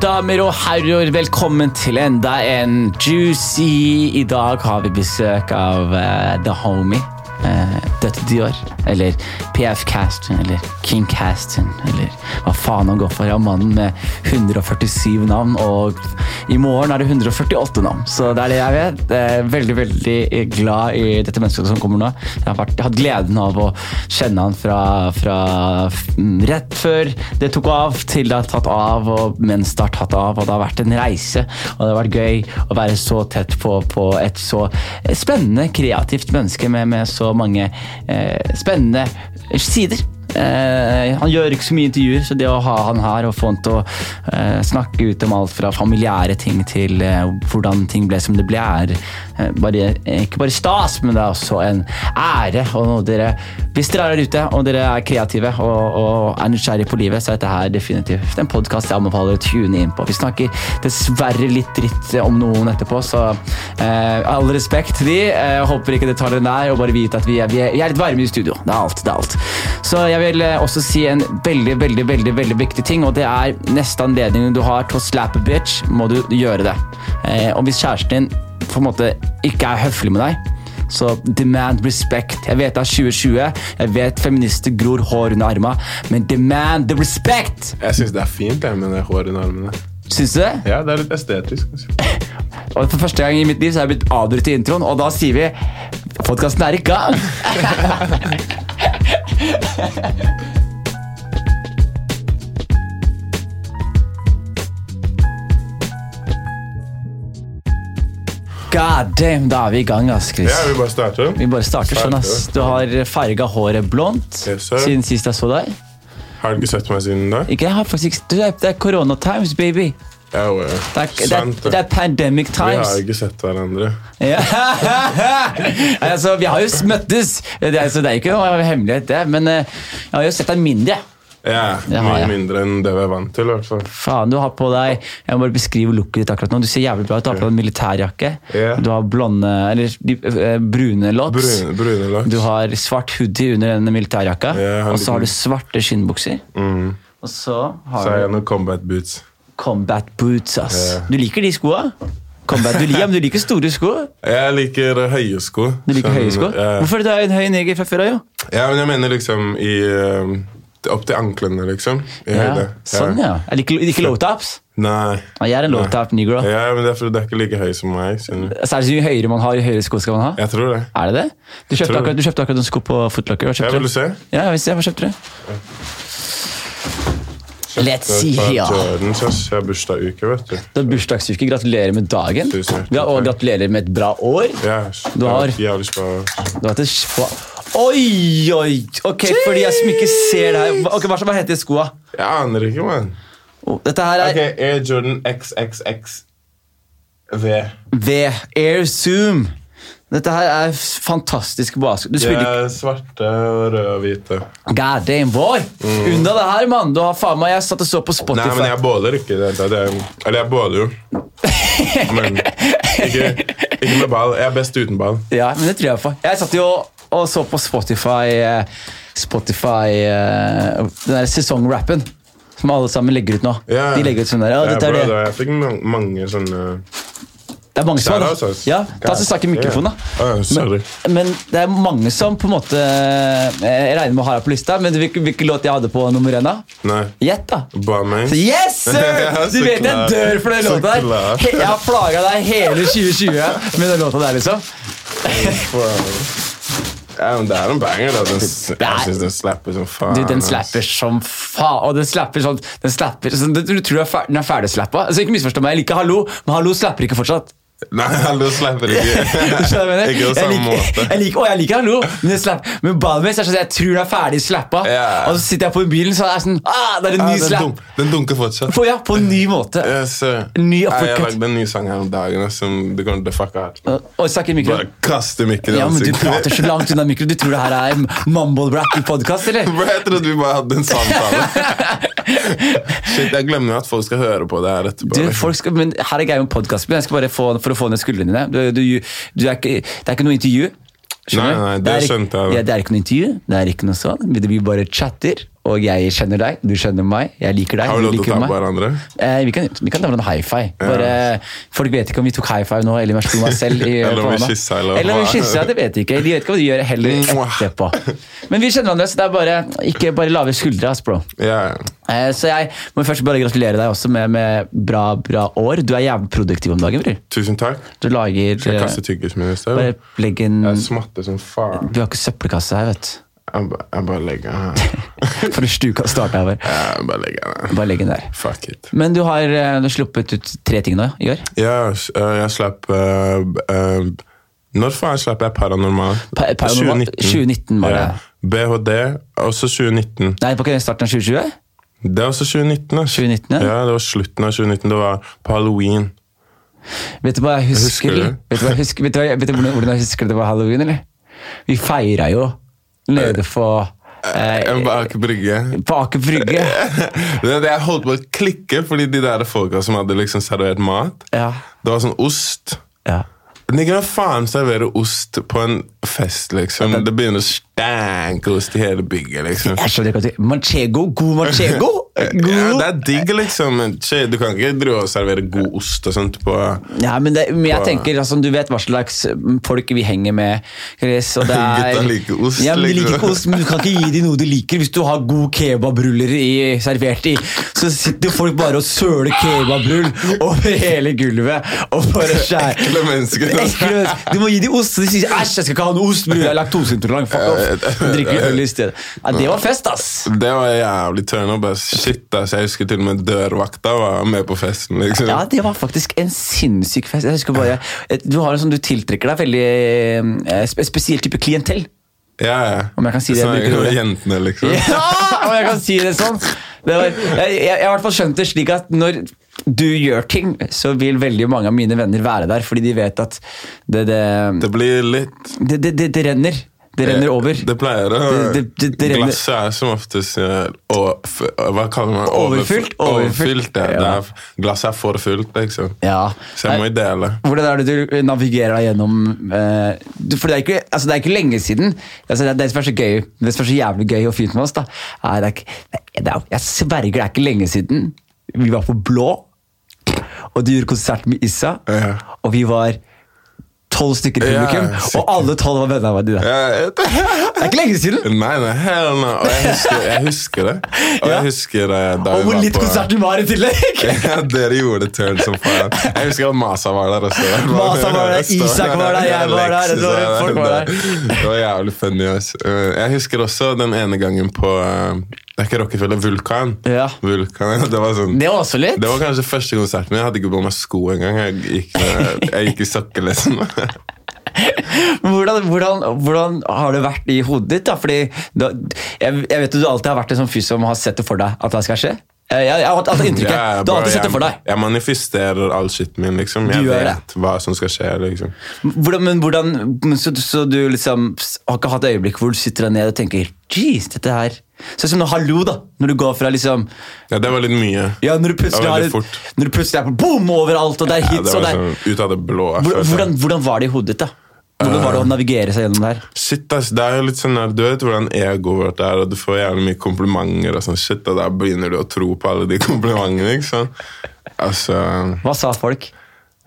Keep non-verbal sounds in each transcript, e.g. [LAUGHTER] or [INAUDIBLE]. damer og herrer, velkommen til enda en Juicy. I dag har vi besøk av eh, The Homie. Uh, Dødt Dior, eller PF Caston, eller King Caston, eller hva faen han går for. Ja, mannen med 147 navn, og i morgen er det 148 navn. Så det er det jeg vet. Eh, veldig, veldig glad i dette mennesket som kommer nå. Jeg har, vært, jeg har hatt gleden av å kjenne han fra, fra f- mm, rett før det tok av, til det har tatt av, og mens det har tatt av. Og det har vært en reise, og det har vært gøy å være så tett på, på et så spennende, kreativt menneske med, med så mange eh, spennende sider. Eh, han gjør ikke så mye intervjuer, så det å ha han her og få han til å eh, snakke ut om alt fra familiære ting til eh, hvordan ting ble som det ble, er eh, bare, ikke bare stas, men det er også en ære. Og når dere, hvis dere er der ute og dere er kreative og, og er nysgjerrige på livet, så er dette her definitivt en podkast jeg anbefaler å tune inn på. Vi snakker dessverre litt dritt om noen etterpå, så eh, all respekt til de. Eh, håper ikke det tar dere nær, og bare vite at vi er, vi, er, vi er litt varme i studio. Det er alt, det er alt. Så jeg vil eh, også si en veldig, veldig, veldig veldig viktig ting, og det er neste anledning du har til å slappe bitch, må du gjøre det. Eh, og hvis kjæresten din på en måte ikke er høflig med deg, så demand respect. Jeg vet det er 2020, jeg vet feminister gror hår under arma, men demand the respect! Jeg syns det er fint jeg, med det håret under armene. Syns du det? Ja, Det er litt estetisk. altså. kanskje. Og for første gang i mitt liv så har jeg blitt avbrutt i introen, og da sier vi podkasten er i gang. [LAUGHS] God damn, da er vi i gang, ass, Chris. Ja, vi bare starter. Vi bare starter sånn, ass. Du har farga håret blondt Yes, sir. siden sist jeg så deg. Har du ikke sett meg siden da? Ikke, jeg har faktisk ikke- du, Det er corona times, baby. Ja, jo, ja. Det er, det Sant, eh. er, det er pandemic Vi times. har ikke sett hverandre. Ja. [LAUGHS] altså, vi har jo møttes, det, er- så det er jo ikke noe hemmelighet, det. Men eh, jeg har jo sett deg mindre. Ja, Ja, Mye ja. mindre enn det vi er vant til. i hvert fall. Faen, du har på deg Jeg må bare beskrive looket ditt akkurat nå. Du ser jævlig bra ut. Du har på deg militærjakke. Ja. Du har blonde Eller de, eh, brune locks. Brune, brune laks. Du har svart hoodie under den militærjakka. Ja, han og så har liker- du svarte skinnbukser. Mm. Og så Så har har jeg du noen combat boots. combat boots, ass. Ja. Du liker de skoa? Combat, du, liker, men du liker store sko. Jeg liker eh, høye sko. Du liker Sånn, høye sko. ja. Hvorfor er du en høy neger fra før av, jo? Ja, men jeg mener liksom i eh, Opp til anklene, liksom. I høyde. Ja, sånn, ja. Jeg liker ikke low-tops. Nei. Ja, Jeg er en low-top negro. Ja, men det er fordi du er ikke like høy som meg. skjønner du. Så er det så mye høyere man har, jo høyere sko skal man ha. Jeg tror det. Er det det? Du kjøpte, tror det. akkurat, du kjøpte akkurat noen sko på Footlocker. Hva Jeg kjøpte du? vil se. Ja, jeg vil se. Hva kjøpte du? Let's see Jeg here. tar Jordans, ass. Jeg har bursdagsuke, vet du. Du har bursdagsuke. Gratulerer med dagen. Tusen hjertelig Ja, og takk. gratulerer med et bra år. Ja, Du har- jeg Jævlig spa- Du har hatt et spa- Oi, oi! Ok, for de som ikke ser det her hva- Ok, Hva som hva heter skoa? Jeg aner ikke, mann. Oh, Dette her er Ok, Air Jordan XXXV. V. Air Zoom. Dette her er f- fantastisk basket. Du De spiller er svarte, og røde og hvite. God damn, boy! Unna det her, mann! Du har faen meg Jeg satt og så på Mm. Nei, Spotify. men jeg båler ikke. Det, det, det. Eller jeg [LAUGHS] båler jo. Men ikke, ikke med ball. Jeg er best uten ball. Ja, men det tror jeg på. Jeg satt jo og så på Spotify eh, Spotify eh, Den der sesongrappen som alle sammen legger ut nå. Ja, ja. De legger ut sånn der. Ja, Jeg dette er bra, det. da. Jeg fikk man- mange sånne Det er mange som Shout out, ass. Ja, Ta så snakk i mikrofonen, da. Ja, sorry. Men det er mange som på en måte eh, Jeg regner med å ha deg på lista, men hvilken hvilken låt jeg hadde på nummer én? da? Nei. Gjett, da. Barmaid. Så Yes, sir! [LAUGHS] Ja, så Du vet jeg klart. dør for den Så låta der. klart. He- Jeg har plaga deg hele 2020 med den låta der, liksom. Ja, men det er en banger, da. Den, s- jeg syns den slapper som faen. Du, den ass. slapper som faen. Og den slapper sånn Den slapper sånn, Du du tror den er fer- den er ferdigslappa? Altså, ikke misforstå meg, jeg liker hallo, men hallo slapper ikke fortsatt. Nei, [LAUGHS] alle slapper ikke. [LAUGHS] Du skjønner hva jeg mener? ikke på Jeg samme liker, måte. jeg liker, å, jeg liker hallo, men, den slapp, men ballen min er sånn at jeg tror den er ferdig slappa. Ja. Og så sitter jeg på bilen, så er jeg sånn ah, Det er en Ah, ny den, slapp. dunk, den dunker fortsatt. På, ja, på en ny måte. Yes, eh, Ny nei, jeg uppercut. lagde en ny sang her om dagen som du kommer til å fucke hardt. med. Og snakk i Bare mikroen. kaste mikken i Ja, men Du ansiktet. [LAUGHS] prater så langt unna mikroen. Du tror det her er mumble-rap-podkast, eller? Bro, Jeg trodde vi bare hadde [LAUGHS] en samtale. Shit, Jeg glemmer jo at folk skal høre på det her etterpå. Du, liksom. folk skal, men her er greia med podkasten. Jeg skal bare få, for å få ned skuldrene dine. Du, du, du er ikke, det er ikke noe intervju. Skjønner Nei, du? nei, det er ikke- skjønte jeg. Ja, det er ikke noe intervju. Det er ikke noe sånn. Vi- Vi bare chatter Og jeg kjenner deg, du kjenner meg, jeg liker deg, Har vi du lov til å liker ta meg. på hverandre? Eh, vi, kan, vi kan ta hverandre high five. Bare, folk vet ikke om vi tok high five nå, eller om jeg slo meg selv. I, [LAUGHS] Eller om vi korona. kyssa, eller eller om vi hva? kyssa, det vet jeg ikke. De vet ikke hva de gjør heller Mwah. etterpå. Men vi kjenner hverandre, så det er bare ikke bare lave skuldre, ass, bro. Ja, ja. Eh, så jeg må først bare gratulere deg også med, med bra, bra år. Du er jævlig produktiv om dagen, bror. Tusen takk. Du lager Jeg eh, kaster tyggisen min i sted. Bare legg en Jeg smatter som faen. Vi har ikke søppelkasse her, vet du. [LAUGHS] Jeg, ba, jeg bare legger den her. For å stuke og starte her. Jeg bare legger den her. Bare legg den der. Fuck it. Men du har, eh, du har sluppet ut tre ting nå i år. Ja, s- eh, jeg slapp eh, b- eh, Når faen slapp jeg Paranormal? Pa- Paranormal- 2019 var det. Ja. BHD, også 2019. Nei, på starten av 2020? Det er også 2019. ass. 2019, ja. ja. Det var slutten av 2019. Det var på halloween. Vet du hva jeg husker? Husker du? Vet du, hva jeg husker? Vet du, hva jeg, vet du hvordan- hvordan jeg husker det var halloween, eller? Vi feira jo nede på eh, Jeg var ikke brygge. [LAUGHS] På Aker Brygge. Det, det jeg holdt på å klikke fordi de der folka som hadde liksom servert mat Ja. Det var sånn ost. ja. Nigga, hva faen serverer ost på en fest, liksom? Det begynner å stanke ost i hele bygget, liksom. Eh, Jeg skjønner ikke at du Manchego, god manchego! Ja, God. det er digg, liksom. men shit, Du kan ikke drive og servere god ost og sånt på Ja, men, det, men jeg Hva- tenker altså, Du vet hva slags mm, folk vi henger med. Chris, og det er, Gutta liker ost, Ja, men de liker liksom. ikke ost, men du kan ikke gi dem noe de liker. Hvis du har god kebabruller i, servert i, så sitter folk bare og søler kebabrull over hele gulvet. Og bare skjærer. Ekle mennesker. Ekle mennesker. Du må gi dem ost. Så de sier 'æsj, jeg skal ikke ha noe ost', bror. Jeg er [LAUGHS] laktoseintolerant. Fuck off. De drikker øl i stedet. Ja, det var fest, ass. Det var jævlig turn-up. ass. Shit, ass. Jeg husker til og med dørvakta var med på festen, liksom. Ja, det var faktisk en sinnssyk fest. Jeg husker bare, et- Du har en sånn, du tiltrekker deg veldig eh, spe- spesiell type klientell. Ja, ja. Om jeg kan si det, Sånn, bruker du det? Jentene, liksom. Ja, [LAUGHS] om jeg kan si det sånn. Det var, jeg, jeg, jeg har i hvert fall skjønt det slik at når du gjør ting, så vil veldig mange av mine venner være der, fordi de vet at det, det, Det blir litt det, det, det, det renner. Det renner over. Det pleier å Det- det- det- det renner- Glasset er som oftest eh, å- f- Hva kaller man det? Overfylt? Overfylt, ja. Det Ja. er, glasset er for fullt, liksom. Ja. Så jeg må jo dele. Hvordan er det du navigerer deg gjennom eh, du- For det er ikke, altså det er ikke lenge siden. Altså det, er det som er så gøy Det som er så jævlig gøy og fint med oss, da er det er, ikke- det er, Jeg sverger det er ikke lenge siden vi var på Blå, og du gjorde konsert med Issa, Ja. og vi var tolv stykker i Ja, publikum, sikkert. og alle tolv var venner av dine. Jeg- Det er ikke lenge siden! Nei, nei, hell no. Og jeg husker, jeg husker det. Ja. Og jeg husker det da Og vi hvor var litt på- konsert du var i tillegg! [LAUGHS] ja, Dere gjorde det turn som faen. Jeg husker at Masa var der også. [LAUGHS] Masa var der, Isak var der, jeg var der, Alexis det var- folk var der. Det var jævlig funny. ass. Eh, Jeg husker også den ene gangen på eh, Det er ikke Rockefeller, Vulkan. Ja. Vulkan, ja, det var sånn Det var også litt. det var kanskje første konserten min. Jeg hadde ikke på meg sko engang. Jeg gikk, eh, jeg gikk i sokker, liksom. [LAUGHS] Hvordan, hvordan, hvordan har det vært i hodet ditt? da? Fordi da, jeg, jeg vet jo du alltid har vært en sånn fyr som har sett det for deg at det skal skje. Eh, Jeg, jeg har alltid inntrykket. du har Jeg- bro, alltid sett det for jeg- deg. Jeg manifesterer all shiten min, liksom. Jeg gjør vet hva som skal skje, liksom. Hvordan, men hvordan, men så, så du liksom har ikke hatt øyeblikk hvor du sitter deg ned og tenker Jeez, dette her Sånn som når hallo, da. Når du går fra liksom Ja, det var litt mye. Ja, når du Det plutselig, var har, veldig et- fort. når du plutselig er på boom overalt, og det er Ja, hits det var og det er sånn ut av det blå. altså. hvordan, jeg følte. hvordan, hvordan var det i hodet ditt, da? Hvordan var det å Eh. navigere seg gjennom det her? Shit, ass, det er jo litt sånn der, Du vet hvordan egoet vårt er, og du får gjerne mye komplimenter, og sånn shit, og da begynner du å tro på alle de [LAUGHS] komplimentene. ikke sant? Altså, Hva sa folk?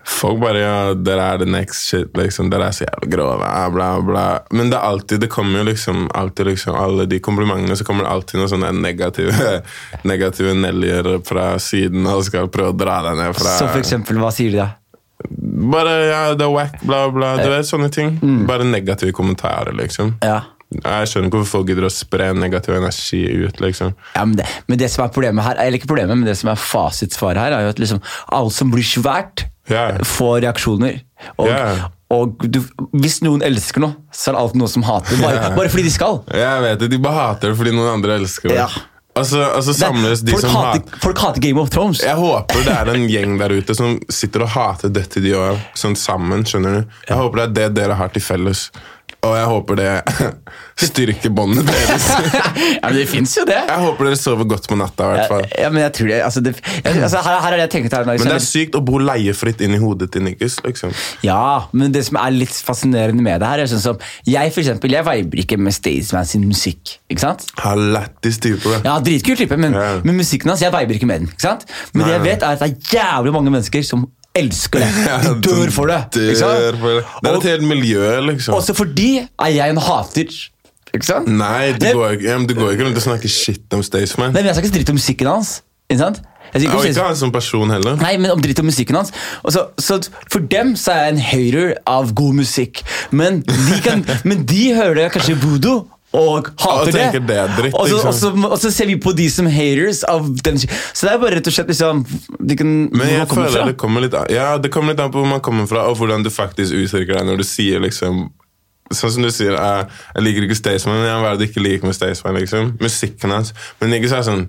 Folk bare ja, 'Dere er the next shit', liksom. 'Dere er så jævlig grove', bla, bla, bla. Men det er alltid, det kommer jo liksom alltid liksom, alle de komplimentene, så kommer det alltid noen sånne negative, [LAUGHS] negative nellier fra siden og skal prøve å dra deg ned fra Som for eksempel, hva sier de da? Bare ja, 'det er wack', bla, bla. Du vet, sånne ting. Mm. Bare negative kommentarer, liksom. Ja Jeg skjønner ikke hvorfor folk gidder å spre negativ energi ut, liksom. Ja, men det, men det som er problemet her, eller ikke problemet, men det som er fasitsvaret her, er jo at liksom alt som blir svært, Ja. får reaksjoner. Og, Ja. og du, hvis noen elsker noe, så er det alltid noen som hater. Bare, Ja. bare fordi de skal. Jeg vet det, De bare hater det fordi noen andre elsker det. Ja. Og så og så Det er- samles de folk, som hater, hater folk hater Game of Thrones. Jeg håper det er en gjeng der ute som sitter og hater dette de gjør, sånn sammen. skjønner du? Jeg håper det er det dere har til felles. Og jeg håper det [LAUGHS] styrker båndet deres. [LAUGHS] ja, men det fins jo det. Jeg håper dere sover godt på natta. i hvert fall. Ja, men jeg tror det, altså, det altså, her, her er det jeg tenker til. Men det er sykt å bo leiefritt inn i hodet til Nikkus. liksom. Ja, men det som er litt fascinerende med det her, er sånn som Jeg for eksempel, jeg viber ikke med Staysman sin musikk. ikke sant? Han er lættis type. da. Ja, dritkul type, men, Ja. men musikken hans, jeg viber ikke med den. ikke sant? Men det jeg Nei. vet, er at det er jævlig mange mennesker som elsker det. [LAUGHS] [LAUGHS] Ja, De dør for det. ikke sant? dør for det. Det er Og- et helt miljø, liksom. Også fordi er jeg en hater. Ikke sant? Nei, du Det- går, ikke- ja, men du går ikke rundt og snakker shit om Staysman. Nei, men jeg skal ikke dritt om musikken hans. Ikke sant? Jeg sier ikke om Og Staysman- ikke han som person heller. Nei, men om dritt om musikken hans. Og så- så for dem så er jeg en hater av god musikk. Men de, kan, [LAUGHS] men de hører kanskje voodoo. Og hater Og tenker det er dritt, liksom. Og så, ikke og, så, og så ser vi på de som haters av den Så det er bare rett og slett liksom de kan, hvor Men jeg man kommer føler fra. det kommer litt an, ja, det kommer litt an på hvor man kommer fra, og hvordan du faktisk uttrykker deg når du sier liksom Sånn som du sier, jeg, jeg liker ikke Staysman, men jeg hva er det du ikke liker med Staysman? liksom? Musikken hans. Men ikke så er det sånn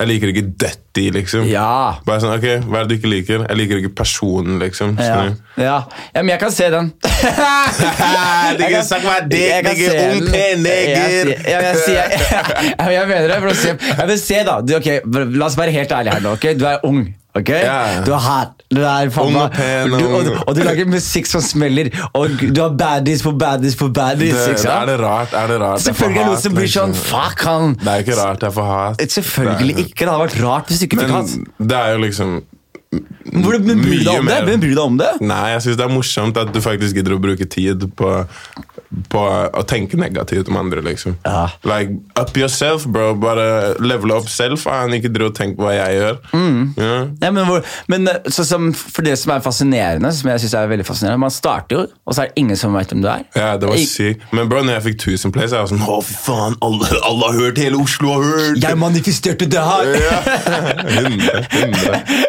Jeg liker ikke Dutty, liksom. Ja. Bare sånn, ok, Hva er det du ikke liker? Jeg liker ikke personen, liksom. Ja, Skjønner du? ja. ja, men jeg kan se [LAUGHS] den. Jeg kan- snakk med deg, jeg kan nigger, se ung den. pen nigger. Jeg sier- Ja, men jeg, sier, [LAUGHS] ja, men jeg mener det. For å se, ja, men se da. Du, ok, la oss være helt ærlige her nå. ok? Du er ung. ok? Ja. Du er hard. Du er faen Ung meg- og pen og- du, og, du- og du lager musikk som smeller. Og du har baddies på baddies på baddies. Det, ikke da sant? er det rart. er det rart jeg får Selvfølgelig er det noen som hat, blir sånn liksom. Fuck han! Det er ikke rart jeg får hat. Selvfølgelig Det er- ikke. Det hadde vært rart hvis du ikke fikk hat. Men det er jo liksom Men hvor- men bryr du deg mye om det? mer. Men bryr du deg om det? Nei, jeg syns det er morsomt at du faktisk gidder å bruke tid på, på å tenke negativt om andre, liksom. Ja. Like, up yourself, bro. Bare level up selv. Faen, ikke dro og tenk på hva jeg gjør. Mm. Ja. Nei, men hvor, men eh, så som, for det som er fascinerende, som jeg synes er veldig fascinerende, man starter jo, og så er det ingen som vet hvem du er. Ja, det var Jeg- sykt. Men bro, når jeg fikk 1000 plays, jeg var sånn Å, fy faen, alle, alle har hørt! Hele Oslo har hørt! Jeg manifesterte det her! Ja. 100,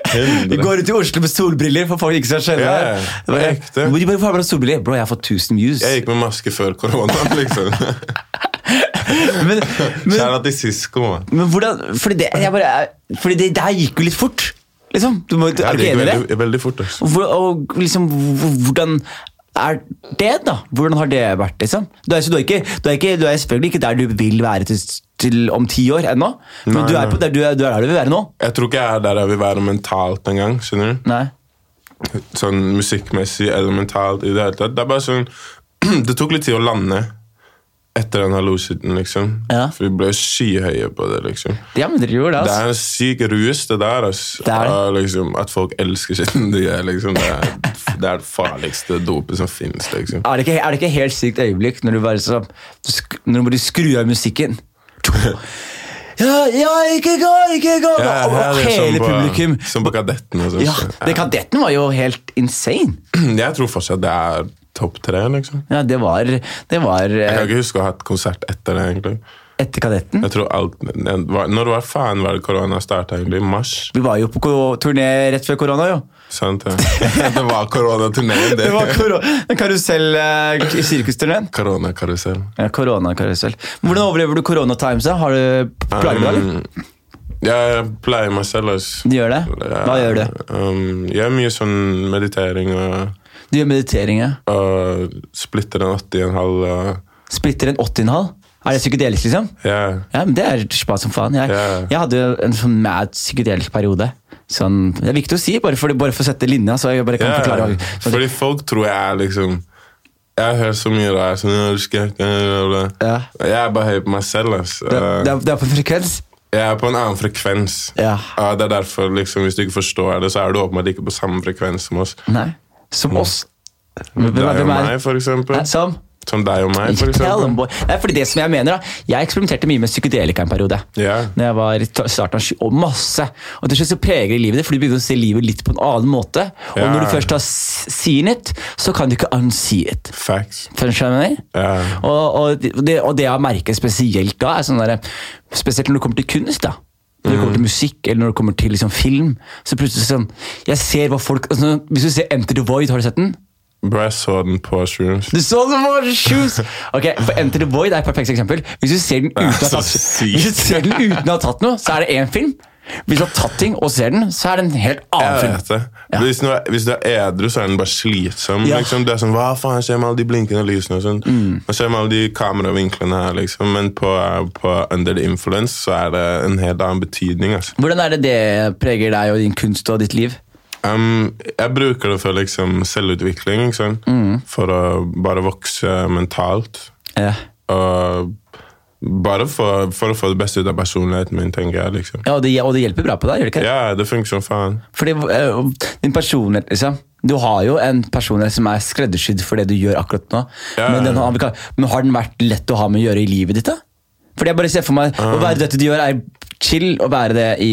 100, 100. Vi går ut i Oslo med solbriller, for folk ikke skal skjønne Ja, ja. det. Det var Det er helt- ekte. Hvor de bare, "Hvorfor har du solbriller? Bro, jeg har fått 1000 views. Jeg gikk med maske før koronaen, liksom. Men, [LAUGHS] men, Kjære til Sisko, mann. men hvordan, fordi det, jeg bare, er- fordi det, det her gikk jo litt fort, liksom. Du må, er Jeg du ikke gikk enig i det? veldig, veldig fort. Altså. Hvor, og liksom, hvor- hvordan er det, da? Hvordan har det vært, liksom? Du er, så du er, ikke, du er, ikke, du er selvfølgelig ikke der du vil være til, til om ti år ennå, men Nei, du, er nei. på der, du, er, du er der du vil være nå. Jeg tror ikke jeg er der jeg vil være mentalt engang. skjønner du? Nei. Sånn musikkmessig eller mentalt i det hele tatt. Det er bare sånn [CLEARS THROAT] Det tok litt tid å lande etter den hallo-shiten, liksom. Ja. For vi ble skyhøye på det, liksom. Ja, men dere gjorde det, Det altså. er en syk rus, det der. Altså. Det er det. Ja, liksom, at folk elsker skitten de gjør, liksom. Det er det, er det farligste dopet som fins, liksom. Er det, ikke, er det ikke et helt sykt øyeblikk når du bare så, du sk, Når du bare skrur av musikken? [LAUGHS] Ja, ja, ikke gå, ikke gå! Ja, og, og det er hele som på- publikum. Som på Kadetten. og sånt. liksom Ja, det, Ja. Kadetten var jo helt insane. [CLEARS THROAT] Jeg tror fortsatt det er topp tre, liksom. Ja, det var, det var Jeg eh, kan ikke huske å ha hatt konsert etter det, egentlig. etter Kadetten. Jeg tror alt, det var- Når var faen var det korona starta, egentlig? I mars? Vi var jo på ko- turné rett før korona, jo. Sant det? Det var koronaturneen, Det var [LAUGHS] det. koro- karusell eh, i sirkusturneen. Koronakarusell. Ja, Koronakarusell. Men Hvordan overlever du koronatimes? da? Har du plager du deg, eller? Um, jeg pleier meg selv, ass. Du gjør det? Jeg- Hva gjør du? Um, jeg gjør mye sånn meditering og, Du gjør meditering, ja. og splitter en åtte i en halv og Splitter en 80,5? Er det psykedelisk, liksom? Ja. Ja, men Det er spa som faen. Jeg, Ja. jeg hadde jo en sånn mad psykedelisk periode. Sånn, det er viktig å si, bare for, bare for å sette linja. så jeg bare kan Ja, forklare. Fordi folk tror jeg er liksom Jeg har hørt så mye rart. Sånn, «Ja, du skal- ja, Ja. ja, ja». Jeg er bare høy på meg selv, ass. Det, det, er, det er på en frekvens. Jeg er på en annen frekvens. Ja. det er derfor liksom, Hvis du ikke forstår det, så er du åpenbart ikke på samme frekvens som oss. Nei. Som oss. Hvem, Deg og hvem er meg, for eksempel. Nei, Som? Som deg og meg, for Ikke tell them, eksempel. boy. Nei, fordi det som Jeg mener da Jeg eksperimenterte mye med psykedelika en periode. Ja. Når jeg var i ta- starten av sky- og masse. Og til slutt så preger det livet ditt, for du begynner å se livet litt på en annen måte. Og Ja. når du først har s- seen it, så kan du ikke unsee it. Facts. Skjønner du hva jeg mener? Ja. Og, og, det, og det jeg merker spesielt da, er sånn der, spesielt når det kommer til kunst. da. Når det kommer Mm. til musikk eller når det kommer til liksom, film. så plutselig sånn, jeg ser hva folk, altså, Hvis du ser Enter the Void, har du sett den? Bro, jeg så den på shrooms. Du så det var shoes! Ok, for Enter the Void er et perfekt eksempel. Hvis du ser den uten å ha så tatt, sykt. hvis du ser den uten å ha tatt noe, så er det én film. Hvis du har tatt ting og ser den, så er det en helt annen Jeg film. vet det. Hvis, du er, hvis du er edru, så er den bare slitsom. Ja. Mm. Liksom. Du er sånn, Hva faen skjer med alle de blinkende lysene? og sånn? Hva skjer med alle de kameravinklene her? liksom? Men på, på Under the Influence så er det en helt annen betydning. altså. Hvordan er det det preger deg og din kunst og ditt liv? Um, jeg bruker det for liksom selvutvikling, ikke sant? Mm. for å bare vokse mentalt. Ja, Og bare for, for å få det beste ut av personligheten min, tenker jeg. liksom. ja og, det, og det hjelper bra på deg, gjør det ikke? det? Ja, det funker som faen. Fordi eh, din personlighet, liksom. Du har jo en personlighet som er skreddersydd for det du gjør akkurat nå. Ja. Men, den har, men har den vært lett å ha med å gjøre i livet ditt, da? Fordi jeg bare ser for meg Ah. Å være dette du gjør, er chill å være det i,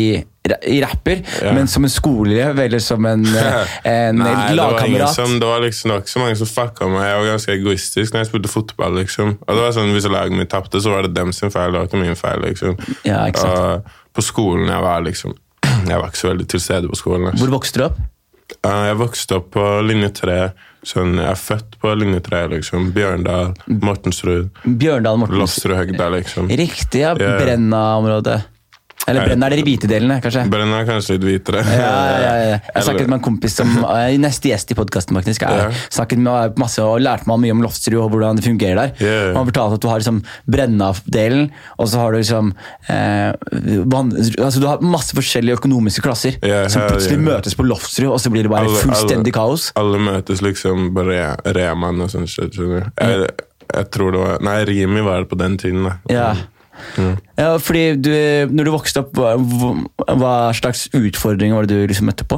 i rapper, Ja. men som en skoleelev eller som [LAUGHS] en, eh, en Nei, det var, ingen lagkamerat som, det, var liksom, det var ikke så mange som fucka meg. Jeg var ganske egoistisk når jeg spilte fotball. liksom. Og det var sånn, Hvis laget mitt tapte, så var det dem sin feil. Det var ikke min feil. liksom. Ja, ikke sant. Og på skolen jeg var liksom, [CLEARS THROAT] jeg var ikke så veldig til stede på skolen. Altså. Hvor vokste du opp? Eh, Jeg vokste opp på linje 3. Sånn, jeg er født på linje 3. Liksom. Bjørndal, Mortensrud, Bjørndal Mortens. Lofsrudhøgda, liksom. Riktig, ja. Ja. Brenna-området. Eller Nei. Brenna er det de hvite delene, kanskje? Brenna er kanskje litt hvitere. Ja, ja, [LAUGHS] ja. Eh, Jeg snakket Eller- med en kompis [LAUGHS] som eh, neste gjest i podkasten. faktisk er, Ja. snakket med masse og lærte meg mye om Lofsrud og hvordan det fungerer der. Ja, ja. Og Han fortalte at du har liksom Brenna-delen, og så har du liksom eh, van, altså Du har masse forskjellige økonomiske klasser Ja, som ja, plutselig ja. møtes på Lofsrud, og så blir det bare Alle- fullstendig kaos. Alle møtes liksom på re, Reman og sånn shit, skjønner du. Mm. Jeg, jeg tror det var Nei, Rimi var det på den tiden, da. Ja. Mm. ja, fordi du, når du vokste opp, hva, hva slags utfordringer var det du liksom møtte på?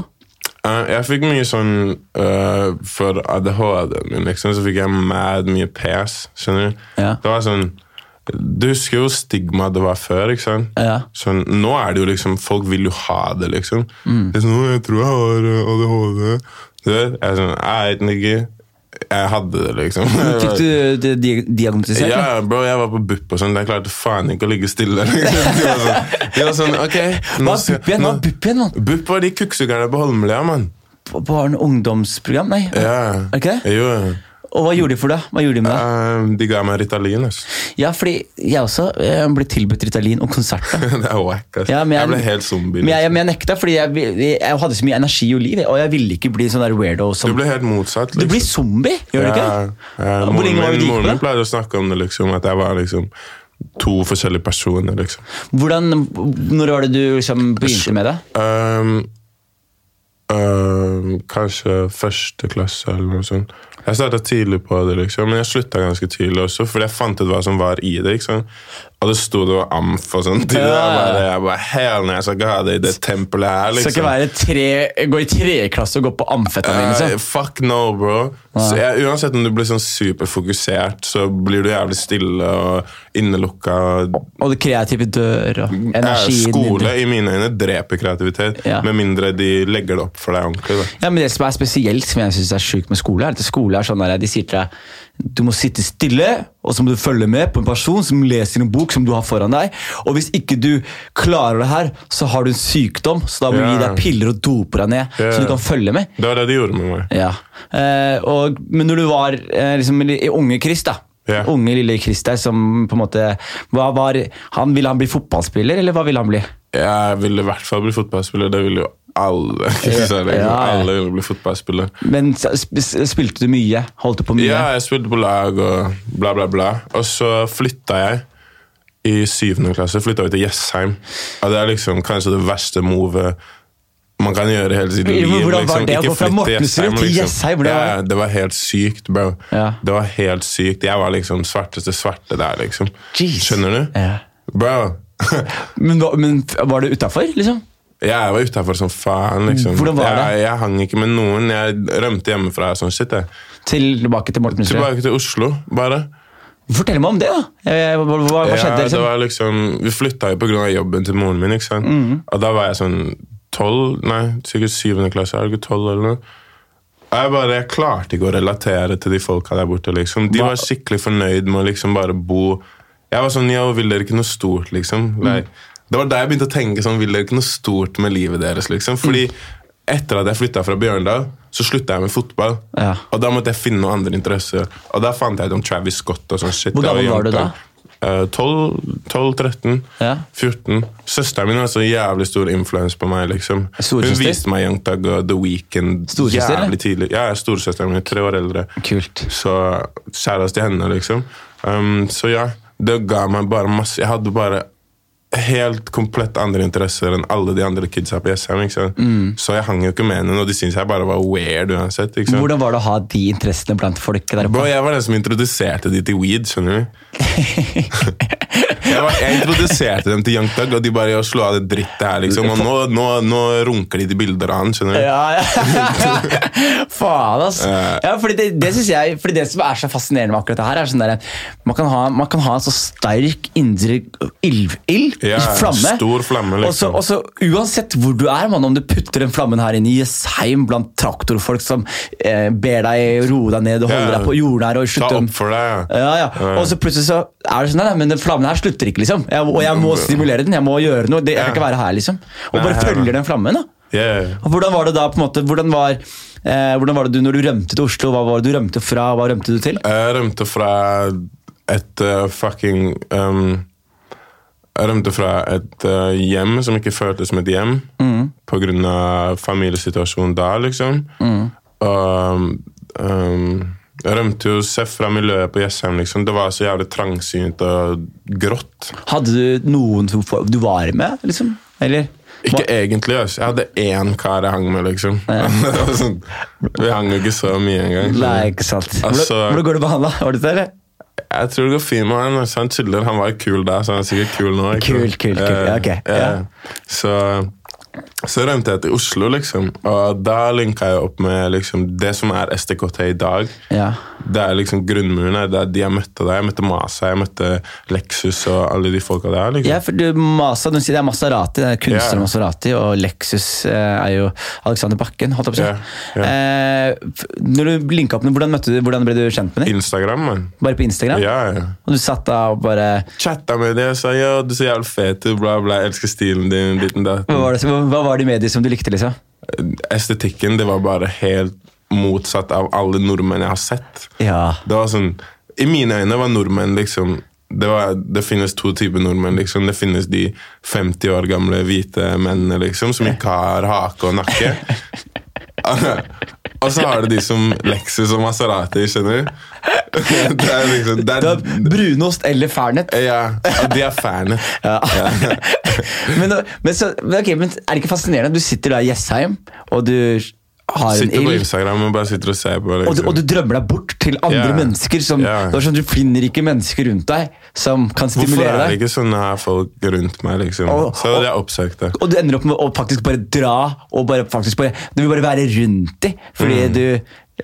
Eh, jeg fikk mye sånn eh, For ADHD-en min, liksom, så fikk jeg mad mye pes, skjønner du. Ja. Det var sånn Du husker jo stigmaet det var før, ikke sant? Ja. Sånn, nå er det jo liksom Folk vil jo ha det, liksom. Mm. Det er sånn, «Å, 'Jeg tror jeg har eh, ADHD'. Du vet? Jeg er sånn Jeg vet ikke. Jeg hadde det, liksom. [LAUGHS] Fikk du det dia- diagnostisert? eller? Ja, bro, jeg var på BUP og sånn. Jeg klarte faen ikke å ligge stille. [LAUGHS] Liksom. De var sånn, de var sånn ok Hva nå er skal- BUP igjen? Hva nå- er BUP igjen, mann? BUP var de kukksugerne på Holmlia, mann. På- Barne- og ungdomsprogram? Nei. Ja. Er det ikke det? Jo, ja. Og hva gjorde de for deg? Hva gjorde de med deg? Ehm, de ga meg Ritalin, ass. [LAUGHS] Ja, fordi jeg også eh, ble tilbudt Ritalin og konserter. Det er wack, ass. Ja, men jeg, ble helt zombie. Men jeg, liksom. men jeg nekta, fordi jeg, vil- jeg hadde så mye energi og liv, jeg, og jeg ville ikke bli sånn der weirdo Du som ble helt motsatt. Du Liksom. blir zombie, gjør du Ja, ikke? ja, Hvor moren lenge var det du min, gikk på moren min det? pleide å snakke om det, liksom. At jeg var liksom to forskjellige personer, liksom. Hvordan, Når var det du liksom begynte med det? Ehm, ehm, kanskje første klasse eller noe sånt. Jeg starta tidlig på det, liksom, men jeg slutta ganske tidlig også. Fordi jeg fant ut hva som var i det. ikke sant? Og det sto det var amf og sånn. Ja. Jeg bare, jeg bare Hell nei, jeg skal ikke ha det i det tempelet her, Skal ikke liksom. være tre, gå i treklasse og gå på amfetamin? Eh, Liksom. fuck no, bro. Så jeg, uansett om du blir sånn superfokusert, så blir du jævlig stille og innelukka. og Og det kreative dør og Eh, energien din. Skole i mine øyne dreper kreativitet, Ja. med mindre de legger det opp for deg ordentlig. da. Ja, men Det som er spesielt, som jeg synes er sjukt med skole, er at skole er sånn der, de sier til deg du må sitte stille, og så må du følge med på en person som leser en bok som du har foran deg. Og hvis ikke du klarer det her, så har du en sykdom, så da må vi gi Ja. deg piller og dope deg ned, Ja. så du kan følge med. Det var det de gjorde med meg. Ja. Eh, og, men når du var eh, liksom, i i unge Chris, da. Ja. Unge lille Chris der som på en måte hva var, han, Ville han bli fotballspiller, eller hva ville han bli? Jeg ville i hvert fall bli fotballspiller. Det ville jo alle. [LAUGHS] Ja, Så det- ja. Alle ville bli fotballspiller. Men s- sp- spilte du mye? Holdt du på mye? Ja, jeg spilte på lag og bla, bla, bla. Og så flytta jeg. I syvende klasse flytta vi til Jessheim. Og det er liksom kanskje det verste movet man kan gjøre hele sitt Ja, liv. men hvordan var liksom. det å Ikke gå fra flytte liksom. Mortensrud til Jessheim? Hvordan var det? Ja, det var helt sykt, bro. Ja. Det var helt sykt. Jeg var liksom svarteste svarte der, liksom. Jeez. Skjønner du? Ja. [LAUGHS] Bro. Men, hva- men f- var du utafor, liksom? Jeg var utafor som faen. liksom. Hvordan var det? Jeg, jeg hang ikke med noen. Jeg rømte hjemmefra. og sånn shit, jeg. Tilbake til Morten Munsrud. Tilbake til Oslo, bare. Fortell meg om det, da! Eh, Hva, hva, hva skjedde? Ja, det liksom? var liksom, vi flytta jo pga. jobben til moren min. ikke sant? Mm. Og da var jeg sånn tolv, nei, sikkert syvende klasse. Er det ikke tolv eller noe? Jeg bare, jeg klarte ikke å relatere til de folka der borte. liksom. De Hva- var skikkelig fornøyd med å liksom bare bo Jeg var sånn, ja, vil dere ikke noe stort, liksom? Mm. Like, Det var da jeg begynte å tenke sånn, vil dere ikke noe stort med livet deres, liksom? Mm. Fordi etter at jeg flytta fra Bjørndal, så slutta jeg med fotball. Ja. Og da måtte jeg finne noen andre interesser. Og da fant jeg ut om Travis Scott og sånn shit. Hvor Jeg gammel var du da? jente. eh, 12, 12 13, Ja. 14. Søsteren min har så jævlig stor influens på meg. liksom. Hun Storesøster? viste meg Young Thug og The Weeknd Storesøster, eller? jævlig tidlig. Ja, storesøsteren min er tre år eldre. Kult. Så kjæreste til henne, liksom. Um, så ja, det ga meg bare masse Jeg hadde bare helt komplett andre interesser enn alle de andre kidsa på Jessheim. ikke sant? Mm. Så jeg hang jo ikke med henne, og de syntes jeg bare var weird uansett. ikke sant? Hvordan var det å ha de interessene blant folk der Bro, oppe? jeg var den som introduserte de til weed, skjønner du. Jeg, var, jeg introduserte dem til Young Thug, og de bare «Yo, slå av det drittet her, liksom. Og nå, nå, nå runker de til bilder av han, skjønner du. Ja, [LAUGHS] ja. Faen, altså. Ja, fordi det, det synes jeg Fordi det som er så fascinerende med akkurat det her, er sånn der, man, kan ha, man kan ha en så sterk indre ild, ild Ja, flamme. stor flamme, liksom. Og så- Og så uansett hvor du er, mann, om du putter den flammen her inn i Jessheim blant traktorfolk som eh, ber deg roe deg ned og holde Ja. deg på jordnær og Ta slutte opp for deg. ja, ja. Og så plutselig så er det sånn, nei, nei, men den flammen her slutter ikke, liksom. Jeg, og jeg må stimulere den, jeg må gjøre noe. Det, jeg kan Ja. ikke være her, liksom. Og Nei, bare ja, ja. følger den flammen, da. Yeah. Og hvordan var det da, på en måte, hvordan var, eh, hvordan var det du når du rømte til Oslo? Hva var det du rømte fra, hva rømte du til? Jeg rømte fra et eh, fucking ehm, Jeg rømte fra et eh, hjem som ikke føltes som et hjem, på grunn av familiesituasjonen da, liksom. Og ehm, jeg rømte jo seff fra miljøet på Jessheim, liksom. Det var så jævlig trangsynt og grått. Hadde du noen som for- du var med, liksom? Eller? Ikke egentlig, altså. Jeg hadde én kar jeg hang med, liksom. [LAUGHS] Det var sånn, Vi hang jo ikke så mye engang. så- Nei, ikke sant. Hvordan, Altså- hvordan går det med han, da? Var det det, eller? Jeg tror det går fint med han. altså, Han chiller. Han var kul da, så han er sikkert kul nå. ikke Kul, sant? kul, kul. Eh, Ja, ok. eh, Ja. Så, så rømte jeg til Oslo, liksom. Og da linka jeg opp med liksom, det som er STKT i dag. Ja. Det er liksom grunnmuren her. Det er de jeg møtte der. Jeg møtte Masa, jeg møtte Lexus og alle de folka der. liksom. Ja, for du, Masa, du sier det er Maserati, det er kunstner Ja. Maserati, og Lexus eh, er jo Alexander Bakken, holdt jeg på å si. Ja, ja. Eh, f- når du linket opp, med- hvordan, møtte du, hvordan ble du kjent med dem? Instagram, mann. Bare på Instagram? Ja, ja. Og du satt da og bare Chatta med dem og sa ja, du er så jævlig fet ut, bla, bla. Jeg elsker stilen din. Liten datt. Hva var det, hva var det med de som du likte, liksom? Estetikken, det var bare helt motsatt av alle nordmenn jeg har sett. Ja. Det var sånn, I mine øyne var nordmenn liksom det, var, det finnes to typer nordmenn. liksom. Det finnes de 50 år gamle hvite mennene liksom, som ikke har hake og nakke. og så har du de som Lexus og Maserati, skjønner du? det er liksom, det Det er, var brunost eller fernet. ja, og de er fanet. Ja. [LAUGHS] men, men, så, men, ok, men er det ikke fascinerende? Du sitter der i Jessheim, og du har en Sitter på ild. Instagram og bare sitter og ser på. Liksom. Og du, og du drømmer deg bort til andre Ja. mennesker. Som, Ja. det er sånn, du finner ikke mennesker rundt deg som kan Hvorfor stimulere er det deg. ikke sånne her folk rundt meg, liksom? Og- så hadde jeg oppsøkt det. Og du ender opp med å faktisk bare dra. og bare faktisk bare, Du vil bare være rundt dem. Fordi du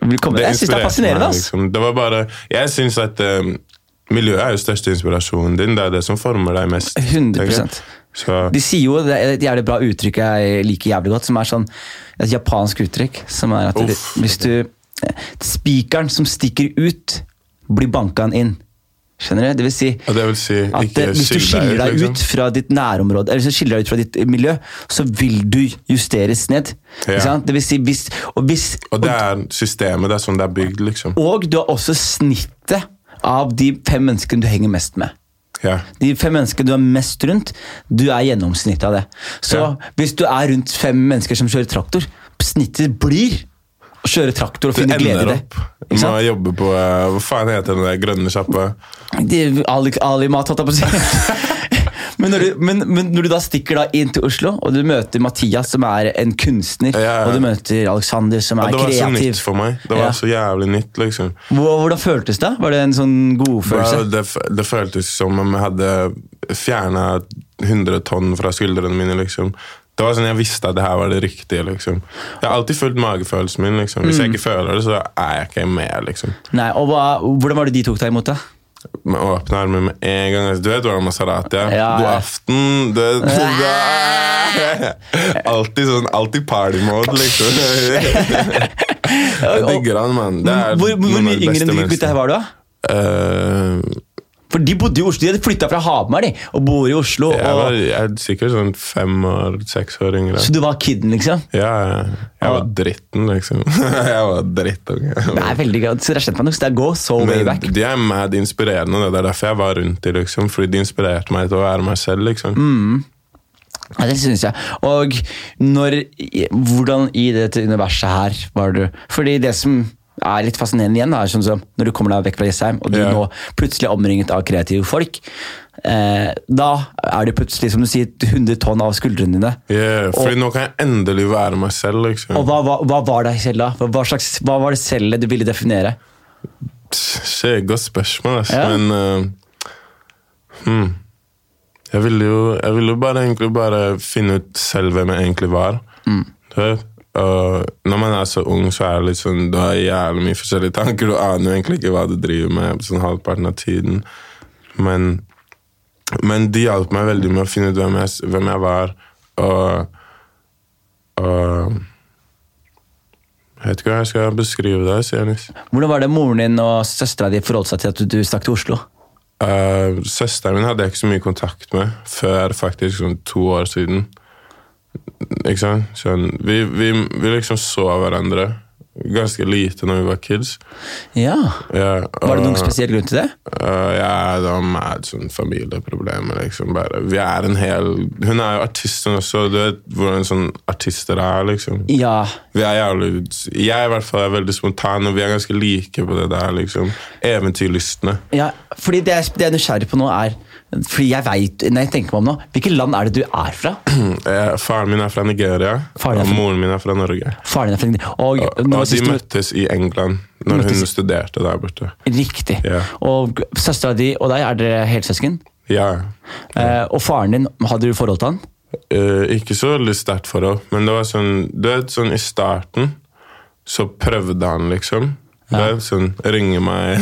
vil komme. Jeg syns det er inspirerte fascinerende. Mm. meg, ass. liksom. Det var bare, jeg syns at eh, miljøet er jo største inspirasjonen din. Det er det som former deg mest. 100%. tenker jeg. Så, De sier jo det er et jævlig bra uttrykk jeg liker jævlig godt, som er sånn et japansk uttrykk. Som er at det, Uff. hvis du Spikeren som stikker ut, blir banka inn. Skjønner du? Det vil si og det vil si at ikke liksom? eh, hvis du skiller deg ut fra ditt nærområde, eller hvis du skiller deg ut fra ditt eh, miljø, så vil du justeres ned. Ja. Ikke sant? Det vil si hvis Og hvis Og det er systemet. Det er sånn det er bygd, liksom. og du har også snittet av de fem menneskene du henger mest med. Ja. De fem menneskene du er mest rundt, du er gjennomsnittet av det. Så Ja. hvis du er rundt fem mennesker som kjører traktor, snittet blir å kjøre traktor og Du finne glede i ender det. opp Ikke med å sant? jobbe på eh, Hva faen heter den der grønne sjappa? Det- Ali- Ali-mat, holdt jeg på å [LAUGHS] si. Men når, du, men, men når du da stikker da inn til Oslo, og du møter Mathias, som er en kunstner, Ja, ja. og du møter Alexander, som Ja, er det var så nytt kreativ for meg. Det var Ja. så jævlig nytt, liksom. Hvor- Hvordan føltes det? Var det en sånn godfølelse? Ja, det, f- det føltes som om jeg hadde fjerna 100 tonn fra skuldrene mine. liksom. Det var sånn Jeg visste at det her var det riktige. liksom. Jeg har alltid følt magefølelsen min. liksom. Hvis Mm. jeg ikke føler det, så er jeg ikke med. liksom. Nei, og hva, Hvordan var det de tok deg imot, da? Med åpne armer med en gang. Du vet hvordan Maserati er. Ja, God ja. aften. Du, du, [LAUGHS] alltid sånn, alltid party mode, liksom. [LAUGHS] Jeg digger han, mann. Det er Hvor, hvor noen av mye de yngre beste enn de gutta menneskene. her var du, da? Eh, For de bodde i Oslo, de hadde flytta fra Hamar de, og bor i Oslo. Jeg var Og, jeg er sikkert sånn fem år, seks år yngre. så du var kiden, liksom? Ja, ja. jeg var dritten, liksom. [LAUGHS] jeg var Det drittunge. er veldig gøy. Så det er kjent meg nok, så det går so way Men back. de er mad inspirerende, og det er derfor jeg var rundt de, liksom. Fordi de inspirerte meg til å være meg selv, liksom. Mm. Ja, det syns jeg. Og når, i- hvordan i dette universet her var du Fordi det som er litt fascinerende igjen, da, er sånn som når du kommer deg vekk fra Jessheim, og du Ja. nå plutselig er omringet av kreative folk. Eh, da er det plutselig som du sier, 100 tonn av skuldrene dine. Yeah, fordi nå kan jeg endelig være meg selv, liksom. Og hva, hva, hva var det selv da? Hva, hva slags, hva var det selvet du ville definere? Shit, godt spørsmål, ass. Ja. Men eh, hmm. jeg, ville jo, jeg ville jo bare egentlig bare finne ut selv hvem jeg egentlig var. Du vet? Og når man er så ung, så er det litt sånn, du har jævlig mye forskjellige tanker. Du aner jo egentlig ikke hva du driver med sånn halvparten av tiden. Men, men de hjalp meg veldig med å finne ut hvem jeg, hvem jeg var. Og, og Jeg vet ikke hva jeg skal beskrive deg, Sianis. Hvordan var det moren din og søstera di forholdt seg til at du, du stakk til Oslo? Eh, søsteren min hadde jeg ikke så mye kontakt med før faktisk sånn to år siden. Ikke sant? Sånn, vi, vi, vi liksom så hverandre ganske lite når vi var kids. Ja, Ja, og- Var det noen spesiell grunn til det? Eh, ja, det var mad sånn familieproblemer, liksom. Bare. Vi er en hel Hun er jo artist, hun også. Du vet hvordan sånn artister er, liksom. Ja, Vi er jævlig Jeg i hvert fall er veldig spontan, og vi er ganske like på det der, liksom. Eventyrlystne. Ja, fordi det, jeg- det jeg er nysgjerrig på nå er Fordi jeg vet, når jeg tenker meg om nå Hvilket land er det du er fra? Eh, Faren min er fra Nigeria, Faren er og fra- moren min er fra Norge. Faren din er fra Nigeria. Og, nå Og de sist du- møttes i England når hun studerte der borte. Riktig. Ja. Og søstera di og deg, er dere helsøsken? Ja. Eh, og faren din, hadde du forhold til han? Eh, ikke så veldig sterkt forhold, men det var sånn, du vet, sånn i starten så prøvde han, liksom. Det er sånn, ringe [LAUGHS] meg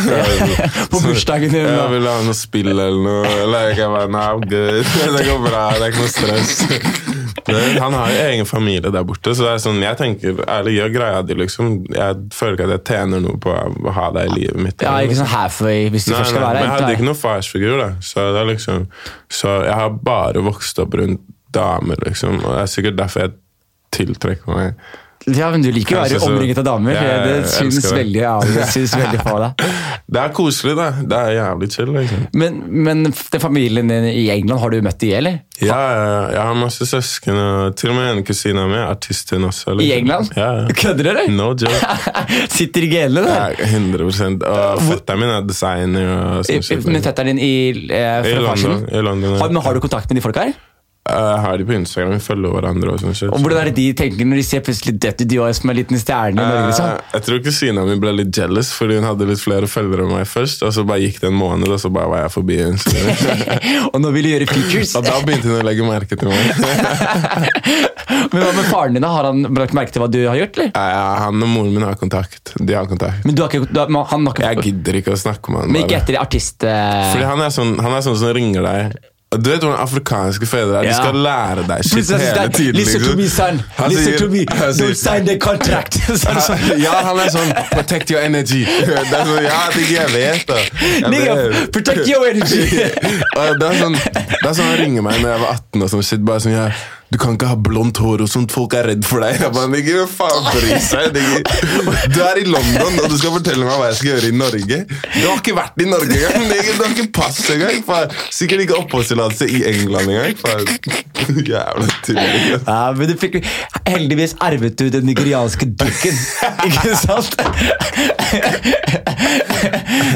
På bursdagen din, da. Jeg vil ha noe spill eller noe. Eller jeg kan bare Nei, I'm good. [LAUGHS] Det går bra. Det er ikke noe stress. [LAUGHS] Det, han har jo egen familie der borte, så det er sånn, jeg tenker ærlig, gjør greia di, liksom. Jeg føler ikke at jeg tjener noe på å ha deg i livet mitt. Ja, eller noe. ikke sånn halfway, hvis du Nei, først skal nei, være men jeg her. hadde ikke noen farsfigur, da. Så, det er liksom, så jeg har bare vokst opp rundt damer, liksom. Og det er sikkert derfor jeg tiltrekker meg Ja, men du liker å Kanskje være så- omringet av damer. Ja, ja, ja, det jeg syns elsker det. veldig, ja, [LAUGHS] det syns veldig på deg. Det er koselig, da. Det er jævlig chill, liksom. Men, men den familien din i England, har du møtt de, eller? Ja, ja, jeg har masse søsken, og til og med en kusine av meg er artist, hun også. I liksom. England? Ja, ja. Kødder dere? No joke. [LAUGHS] Sitter i genene, det. Ja, 100 Og fetteren min er designer og sånn shit. Med fetteren din i, eh, I fra London. Farsund? I London Har, ja. Eh, men har du kontakt med de folka her? Jeg har de på Instagram, vi følger hverandre og sånn shit. Og Hvordan er det de tenker når de ser plutselig Dutty Dior som en liten stjerne i Norge? liksom? [LAUGHS] Eh, Jeg tror kusina mi ble litt jealous, fordi hun hadde litt flere følgere enn meg først. Og så bare gikk det en måned, og så bare var jeg forbi [LAUGHS] henne. Og nå vil de gjøre [LAUGHS] features! Og da begynte hun å legge merke til meg. [LAUGHS] Men hva med faren din? da? Har han lagt merke til hva du har gjort? eller? Eh, Han og moren min har kontakt. De har kontakt. Men du har ikke, du har, men han har Jeg ikke gidder ikke å snakke med han. Men ikke bare. etter artist... eh, Fordi han er, sånn, han er sånn som ringer deg. Og Du vet hvordan afrikanske fedre er. Ja. De skal lære deg shit Plutselig sier hele han, tiden. Listen to liksom. me, son. Han Listen sier- to me. han sier- Don't sign the contract. [LAUGHS] Så er det sånn, [LAUGHS] Ja, han er sånn 'protect your energy'. [LAUGHS] Det er sånn, ja, det er ikke jeg vet da. Ja, Nigga, det- protect your [LAUGHS] energy! Og det er sånn Det er sånn han ringer meg når jeg var 18 og sånn shit. Bare sånn jeg, 'Du kan ikke ha blondt hår og sånt, folk er redd for deg'. Jeg bare, nigga, hva faen bryr seg? nigga? Du er i London, og du skal fortelle meg hva jeg skal gjøre i Norge? Du har ikke vært i Norge engang! nigga. Du har ikke pass engang! faen. Sikkert ikke oppholdstillatelse i England engang. faen. [LAUGHS] Jævla tulling. ass. Ja, men du fikk heldigvis arvet du den nigerianske [LAUGHS] dukken, ikke sant? [LAUGHS]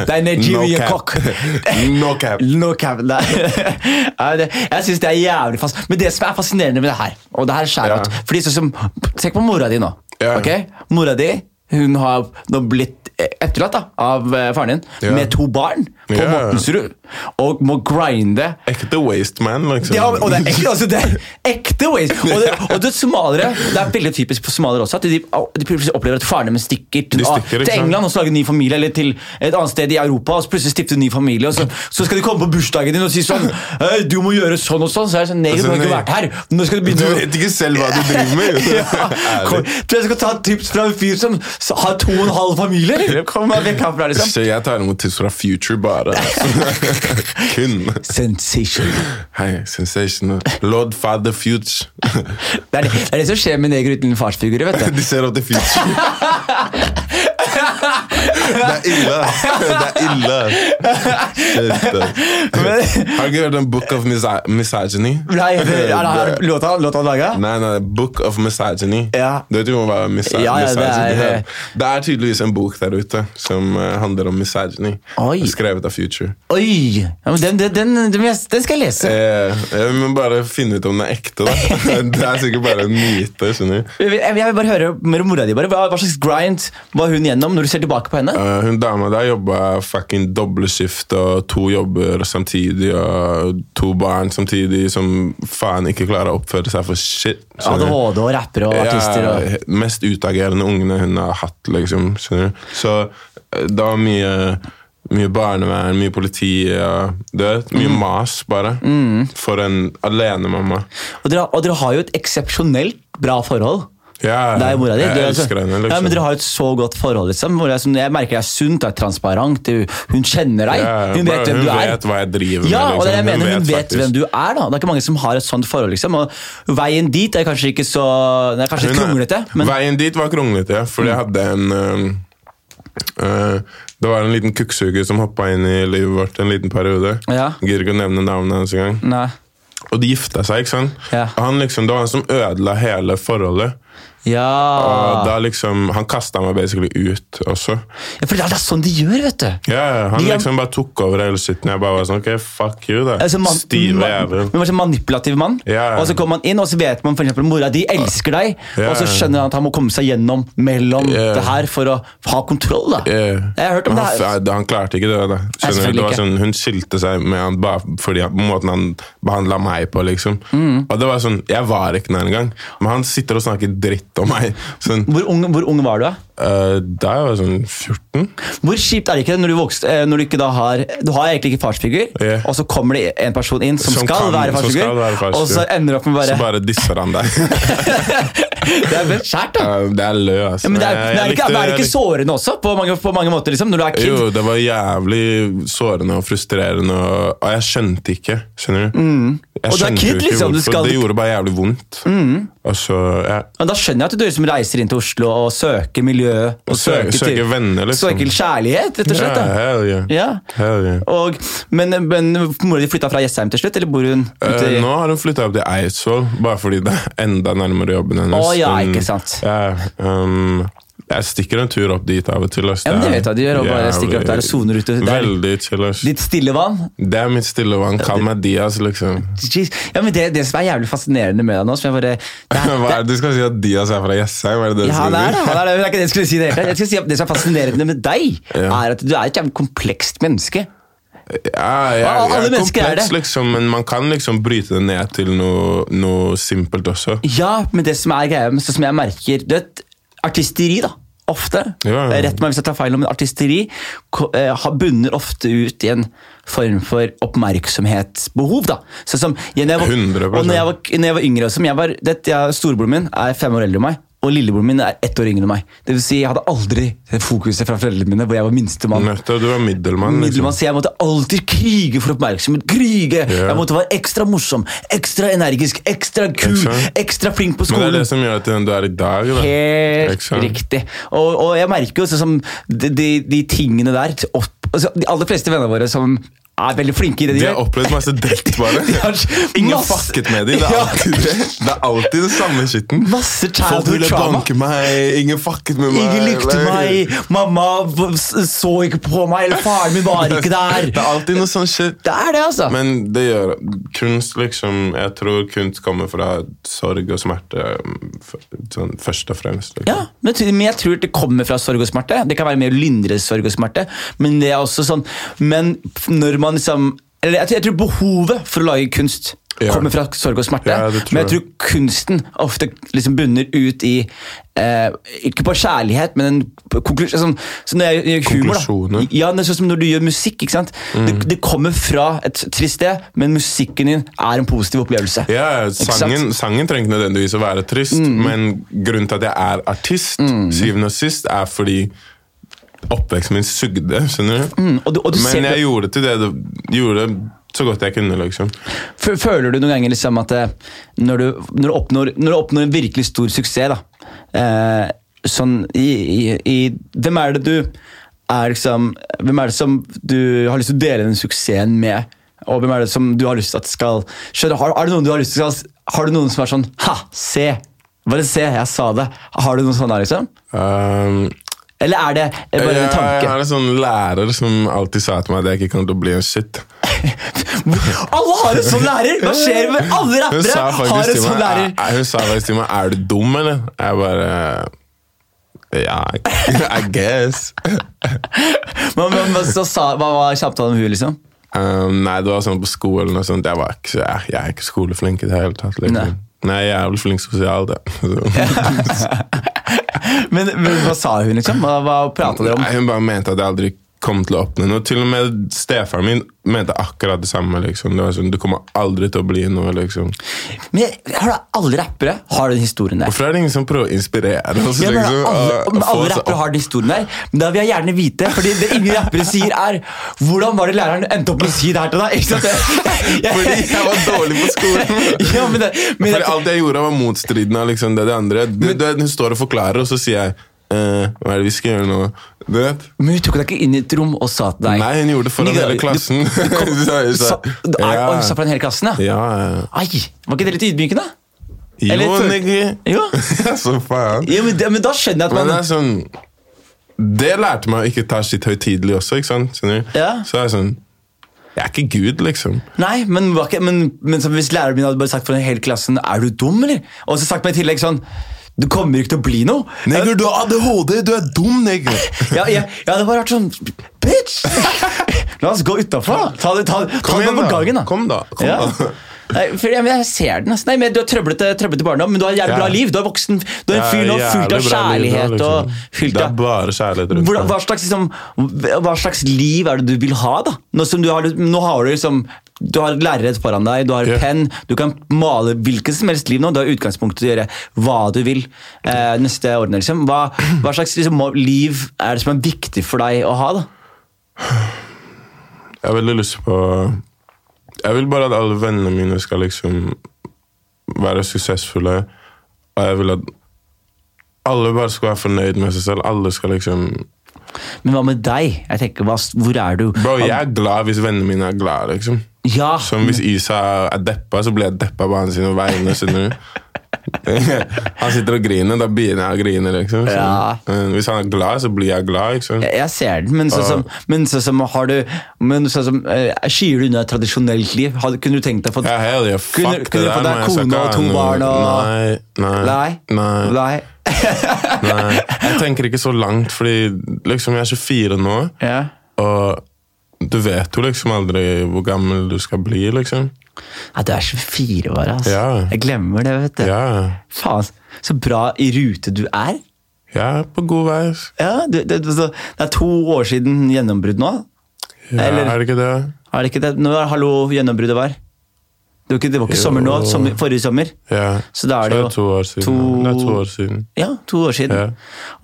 Det er Nigerian cock. [LAUGHS] No cap. No cap. Nei. [LAUGHS] Ja, det- Jeg syns det er jævlig fast. Men det som er fascinerende med det her og det her skjærer Ja. ut, fordi sånn som, Tenk på mora di nå. Ja. ok? Mora di hun har nå blitt eh, etterlatt da, av eh, faren din Ja. med to barn på Ja. Mortensrud og må grinde Ekte waste man, liksom. ja, og det er ekte, altså, det er ekte ways. Og, [LAUGHS] det, og det, somaliere, det er veldig typisk for somaliere også, at de, de plutselig opplever at faren deres stikker til, De stikker, ikke til sant? England og så lager en ny familie, eller til et annet sted i Europa, og så plutselig stifter en ny familie, og så, så skal de komme på bursdagen din og si sånn «Hei, Du må gjøre sånn og sånn. Så er det sånn Nei, du Altså, har ikke nei. vært her. Nå skal du [LAUGHS] Du begynne å [LAUGHS] vet ikke selv hva du driver med! jo. [LAUGHS] ja, Ærlig. kom, tror jeg skal ta et tips fra en fyr som Så har to og en halv familie, eller? Kom og vekk herfra, liksom. Så jeg tar imot tips fra Future [LAUGHS] bare. Kun. Sensation. Hei, sensational. Lord Father [LAUGHS] Future. Det er det, det er det som skjer med negere uten farsfigurer, vet du. [LAUGHS] De ser opp til Future. Det er ille. Det er [LAUGHS] ille. Shit. Men- Har du ikke hørt om Book of Misa- Misogyny? Nei, det- er det her Det- låta, låta han laga? Nei, nei, Book of Misogyny. Ja. Du vet jo hva misa Ja, ja, det er- eh, misogyny er. Det er tydeligvis en bok der ute som eh, handler om misogyny. Oi. Skrevet av Future. Oi! Ja, men den, den, den, den, vil jeg- den skal jeg lese. Eh, jeg må bare finne ut om den er ekte. [LAUGHS] Da. [LAUGHS] det er sikkert bare en myte. skjønner du? Jeg vil, jeg vil bare høre mer om mora di. bare. Hva, hva slags grind var hun gjennom når du ser tilbake på henne? Eh, hun dama der jobba fucking doble skift og to jobber samtidig og to barn samtidig som faen ikke klarer å oppføre seg for shit. skjønner du? ADHD og rappere og artister. Ja, Og... Mest utagerende ungene hun har hatt, liksom. skjønner du? Så eh, det var mye, mye barnevern, mye politi og du vet, Mye Mm. mas, bare. For en alenemamma. Og, dere, og dere har jo et eksepsjonelt bra forhold. Ja, Det er jo mora di. Jeg Dere- elsker henne, ja, men liksom. dere har jo et så godt forhold. Liksom. Hvor jeg, som- jeg merker det er sunt, det er transparent, det, hun kjenner deg. Ja, hun bare vet hvem hun du er. vet hva jeg driver med, ja, og det er det jeg liksom. Hun mener, hun vet vet faktisk. hvem du er. da. Det er ikke mange som har et sånt forhold. liksom. Og Veien dit er kanskje ikke så Den er kanskje litt Hun er- kronglete, men Veien dit var kronglete, ja, fordi jeg hadde en eh, eh, Det var en liten kukksuger som hoppa inn i livet vårt en liten periode. Ja. Gidder ikke å nevne navnet hans engang. Nei. Og de gifta seg, ikke sant? Ja. Og han liksom, det var han som ødela hele forholdet. Ja. Ah. Og da liksom, Han kasta meg basically ut også. ja For det er- det er sånn de gjør, vet du. Ja, ja, han De er- liksom bare tok over hele skitten. Jeg bare var sånn, ok, fuck you, da. Altså, man, Stive man- Man jævel. var så manipulativ mann, Ja, ja. og så kommer man inn, og så vet man for eksempel mora di elsker deg, Ja, og så ja. skjønner han at han må komme seg gjennom mellom Ja. det her for å ha kontroll. da. Yeah. Jeg har hørt om han, det her. f- han klarte ikke det. da. Skjønner du? selvfølgelig det var ikke. sånn, hun skilte seg med han bare fordi han, måten han behandla meg på. liksom. Mm. Og det var sånn, Jeg var ikke der engang, men han sitter og snakker dritt om meg. Sånn, Hvor ung, hvor ung var du? da? eh, da jeg var sånn 14 Hvor kjipt er det ikke når du, vokste, eh, når du ikke da har Du har egentlig ikke farsfigur, Ja. og så kommer det en person inn som, Som skal, kan- være som farsfigur, skal være farsfigur. og så ender du opp med bare, Så bare disser han deg. [LAUGHS] Det er veldig skjært, da. Ja, det er lø, altså. Ja, men det er, men Jeg- er, jeg det ikke, likte- er det ikke sårende også, på mange, på mange måter, liksom, når du er kid? Jo, det var jævlig sårende og frustrerende, og, og jeg skjønte ikke, skjønner du? Jeg Mm. Og du er skjønte kid, jo ikke liksom, du hvorfor. skal- Mm. Det gjorde bare jævlig vondt. Og så, ja. Men da skjønner jeg at du liksom reiser inn til Oslo og søker miljø. Og søker- til- søker venner, liksom. Søker kjærlighet, rett og slett. Ja, da. hell yeah. Ja. Hell yeah. Og, men, men mora di flytta fra Jessheim til slutt, eller bor hun ute Eh, i nå har hun flytta opp til Eidsvoll, bare fordi det er enda nærmere jobben hennes. Å, ja, Men, ikke sant. ja, um, jeg stikker en tur opp dit av og til. ass. Ja, men det er vet jeg du gjør, og bare stikker opp der og soner ute. Det er- Veldig chill. ass. ditt stille vann? Det er mitt stille vann. Kall meg Diaz, liksom. Jeez. Ja, men det, det som er jævlig fascinerende med deg nå som jeg bare, det er, [LAUGHS] Hva er det du skal si at Diaz er fra Jessheim? Er det det du ja, han skal er det, si? han er det, men det er ikke det jeg skulle si. i Det, hele tatt. jeg skulle si at det som er fascinerende med deg, Ja. er at du er et jævlig komplekst menneske. [LAUGHS] Ja, jeg, Ja, alle jeg er mennesker er kompleks, det. liksom, men man kan liksom bryte det ned til noe, noe simpelt også. Ja, men det som er greia, med- så som jeg merker Du vet, artisteri, da. Ofte. Ja, ja. Rett meg hvis jeg tar feil, men artisteri ko- eh, har- bunner ofte ut i en form for oppmerksomhetsbehov. da. Sånn som, jeg- når jeg var, 100%. og når jeg var, når jeg var yngre også, men jeg var, det, jeg, Storebroren min er fem år eldre enn meg. Og lillebroren min er ett år yngre enn meg. Det vil si, Jeg hadde aldri det fokuset fra foreldrene mine hvor jeg var minstemann. Nettopp, du er middelmann. Liksom. Middelmann, så jeg måtte alltid krige for oppmerksomhet. Krige! Jeg måtte være ekstra morsom, ekstra energisk, ekstra kul, Ikke sant? ekstra flink på Men det skolen. er det som gjør at du er i dag. Da. Helt Ikke sant? riktig. Og, og jeg merker jo sånn som de, de, de tingene der til opp, altså, De aller fleste vennene våre som er veldig flinke i det de, De har opplevd masse dritt, [LAUGHS] bare. De har Ingen har masse- fucket med dem. Det er Ja. alltid det. Det er alltid den samme skitten. Masse Folk childhood ville trauma. banke meg, ingen fucket med meg. Ingen likte Nei. meg, mamma v- s- så ikke på meg, eller faren min var ikke der. [LAUGHS] Det er alltid noe sånn shit. Det er det, altså. Men det gjør kunst liksom Jeg tror kunst kommer fra sorg og smerte, f- sånn, først og fremst. Liksom. Ja, men jeg tror- men jeg tror det kommer fra sorg og smerte. Det kan være mer lindre sorg og smerte, men det er også sånn Men når man liksom Eller jeg tror, jeg tror behovet for å lage kunst Ja. kommer fra sorg og smerte. Ja, det tror men jeg jeg. tror kunsten ofte liksom bunner ut i eh, Ikke bare kjærlighet, men en konklusjon sånn, Så når jeg gjør humor, da. Konklusjoner. Mm. Ja, det er sånn som når du gjør musikk. ikke sant? Det, det kommer fra et trist sted, men musikken din er en positiv opplevelse. Ja, sant? sangen, sangen trenger ikke nødvendigvis å være trist, Mm. men grunnen til at jeg er artist, syvende og sist, er fordi oppveksten min sugde, skjønner du? Mm, og du- og du ser- men jeg gjorde til det det gjorde så godt jeg kunne, liksom. F- Føler du noen ganger liksom at eh, når du, når du, oppnår, når du oppnår en virkelig stor suksess, da eh, Sånn i, i, i Hvem er det du er liksom Hvem er det som du har lyst til å dele den suksessen med? Og hvem er det som du har lyst til at skal Skjønner, du, har, er det noen du har lyst til skal, Har du noen som er sånn Ha! Se! Bare se, jeg sa det. Har du noen sånne, liksom? Um, Eller er det eh, bare en jeg, jeg tanke? har en sånn lærer som alltid sa til meg at jeg ikke kommer til å bli en shit. Alle har en sånn lærer! Hva skjer med alle Hun rappere? sa Har faktisk en til sånn lærer. meg, "Er- hun sa faktisk til meg Er du dum, eller? Jeg bare Ja, I guess. Men, men, men så sa, hva var samtalen med hun liksom? [LAUGHS] Um, nei, det var sånn på skolen og sånt. Jeg, var ikke, så- jeg, jeg er ikke skoleflink i det hele tatt. Liksom. Nei. Nei. jeg er jævlig flink sosialt, jeg. [LAUGHS] Så- Men, men hva sa hun, liksom? Hva, hva prata dere om? Nei, hun bare mente at jeg aldri kom til å oppnå noe. Til og med stefaren min mente akkurat det samme. Liksom. Det var sånn, Du kommer aldri til å bli noe, liksom. Men jeg, hør da, Alle rappere har den historien der. Hvorfor er det ingen som prøver å inspirere oss? Ja, men liksom, alle, og- og men få alle oss rappere opp? har den historien der, men da vil jeg gjerne vite. Fordi det ingen rappere sier, er 'Hvordan var det læreren endte opp med å si det her til deg?' Ikke sant? Jeg- [LAUGHS] Fordi jeg var dårlig på [LAUGHS] skolen. ja, men det, men Fordi alt jeg gjorde var motstridende av liksom, det det andre. Du, du, vet, hun står og forklarer, og så sier jeg eh, Hva er det vi skal gjøre nå? Du vet? men hun tok deg ikke inn i et rom og sa til deg Nei, hun gjorde det foran Nigga, hele du- klassen. [LAUGHS] Hun sa- hun Sa, sa- er, Ja. og hun sa foran hele klassen, ja? Ja, ja. Ai, var ikke det litt ydmykende? Eller Jo, føl- nigger. Jo. Ja, [LAUGHS] så faen. Ja, men, det- men da skjønner jeg at Men det man er sånn Det lærte meg å ikke ta sitt høytidelig også, ikke sant? Skjønner du? Ja. Så er det sånn Jeg er ikke Gud, liksom. Nei, men, var ikke, men, men som hvis læreren min hadde bare sagt for hele klassen Er du dum, eller? Og så sagt meg i tillegg sånn Du kommer ikke til å bli noe. Neger, du har ADHD! Du er dum, neger! [LAUGHS] Ja, ja, ja, det hadde bare vært sånn Bitch! [LAUGHS] La oss gå utafor, da. Ta det, ta, ta [LAUGHS] Kom det igjen, på da. gangen, da. Kom da, kom ja. da. Nei, for jeg, jeg ser den. ass. Nei, men Du har trøblete, trøblete barndom, men du har et jævlig Ja. bra liv. Du er voksen, du er en Ja, fyr nå jævlig fullt av bra liv nå, kjærlighet. liksom. og fylt Det av er bare kjærlighet rundt Hvordan, meg. hva, slags, liksom, hva slags liv er det du vil ha, da? Nå, som du har, nå har du liksom du har et lerret foran deg, du har Ja. penn, du kan male hvilket som helst liv nå. Du har utgangspunkt til å gjøre hva du vil eh, neste årene. Liksom. Hva, hva slags liksom, må- liv er det som er viktig for deg å ha? da? Jeg har veldig lyst på Jeg vil bare at alle vennene mine skal liksom være suksessfulle. Og jeg vil at alle bare skal være fornøyd med seg selv. Alle skal liksom Men hva med deg? Jeg tenker, hva, Hvor er du? Bro, jeg er glad hvis vennene mine er glad, liksom. Ja, Som hvis Isa er deppa, så blir jeg deppa på hans sine vegne. [LAUGHS] skjønner du? han sitter og griner, da begynner jeg å grine. liksom. Så, Ja. eh, Hvis han er glad, så blir jeg glad. ikke sant? jeg jeg ser den, men sånn som, Ah. men sånn som har du men sånn som, eh, Skyer du unna et tradisjonelt liv? Hadde- kunne du tenkt deg å få Ja, hell yeah, fuck Kunne- det kunne der. fått deg man, jeg skal kone ikke og ha to noe- barn og- Nei, nei, Nei? nei, Nei. nei. Jeg tenker ikke så langt, fordi liksom, jeg er 24 nå, Ja. og du vet jo liksom aldri hvor gammel du skal bli, liksom. Nei, du er 24 år, altså. Ja. Jeg glemmer det, vet du. Ja, Faen, så bra i rute du er. jeg er på god vei. Ja, du, det, altså, det er to år siden gjennombrudd nå. Ja, Eller- Er det ikke det? Er det ikke det? Nå er hallo gjennombruddet var. Det var ikke, det var ikke Jo. sommer nå, sommer, forrige sommer. Ja. Så da er det jo to år siden. to- Det er to år siden. Ja, to år siden. Ja.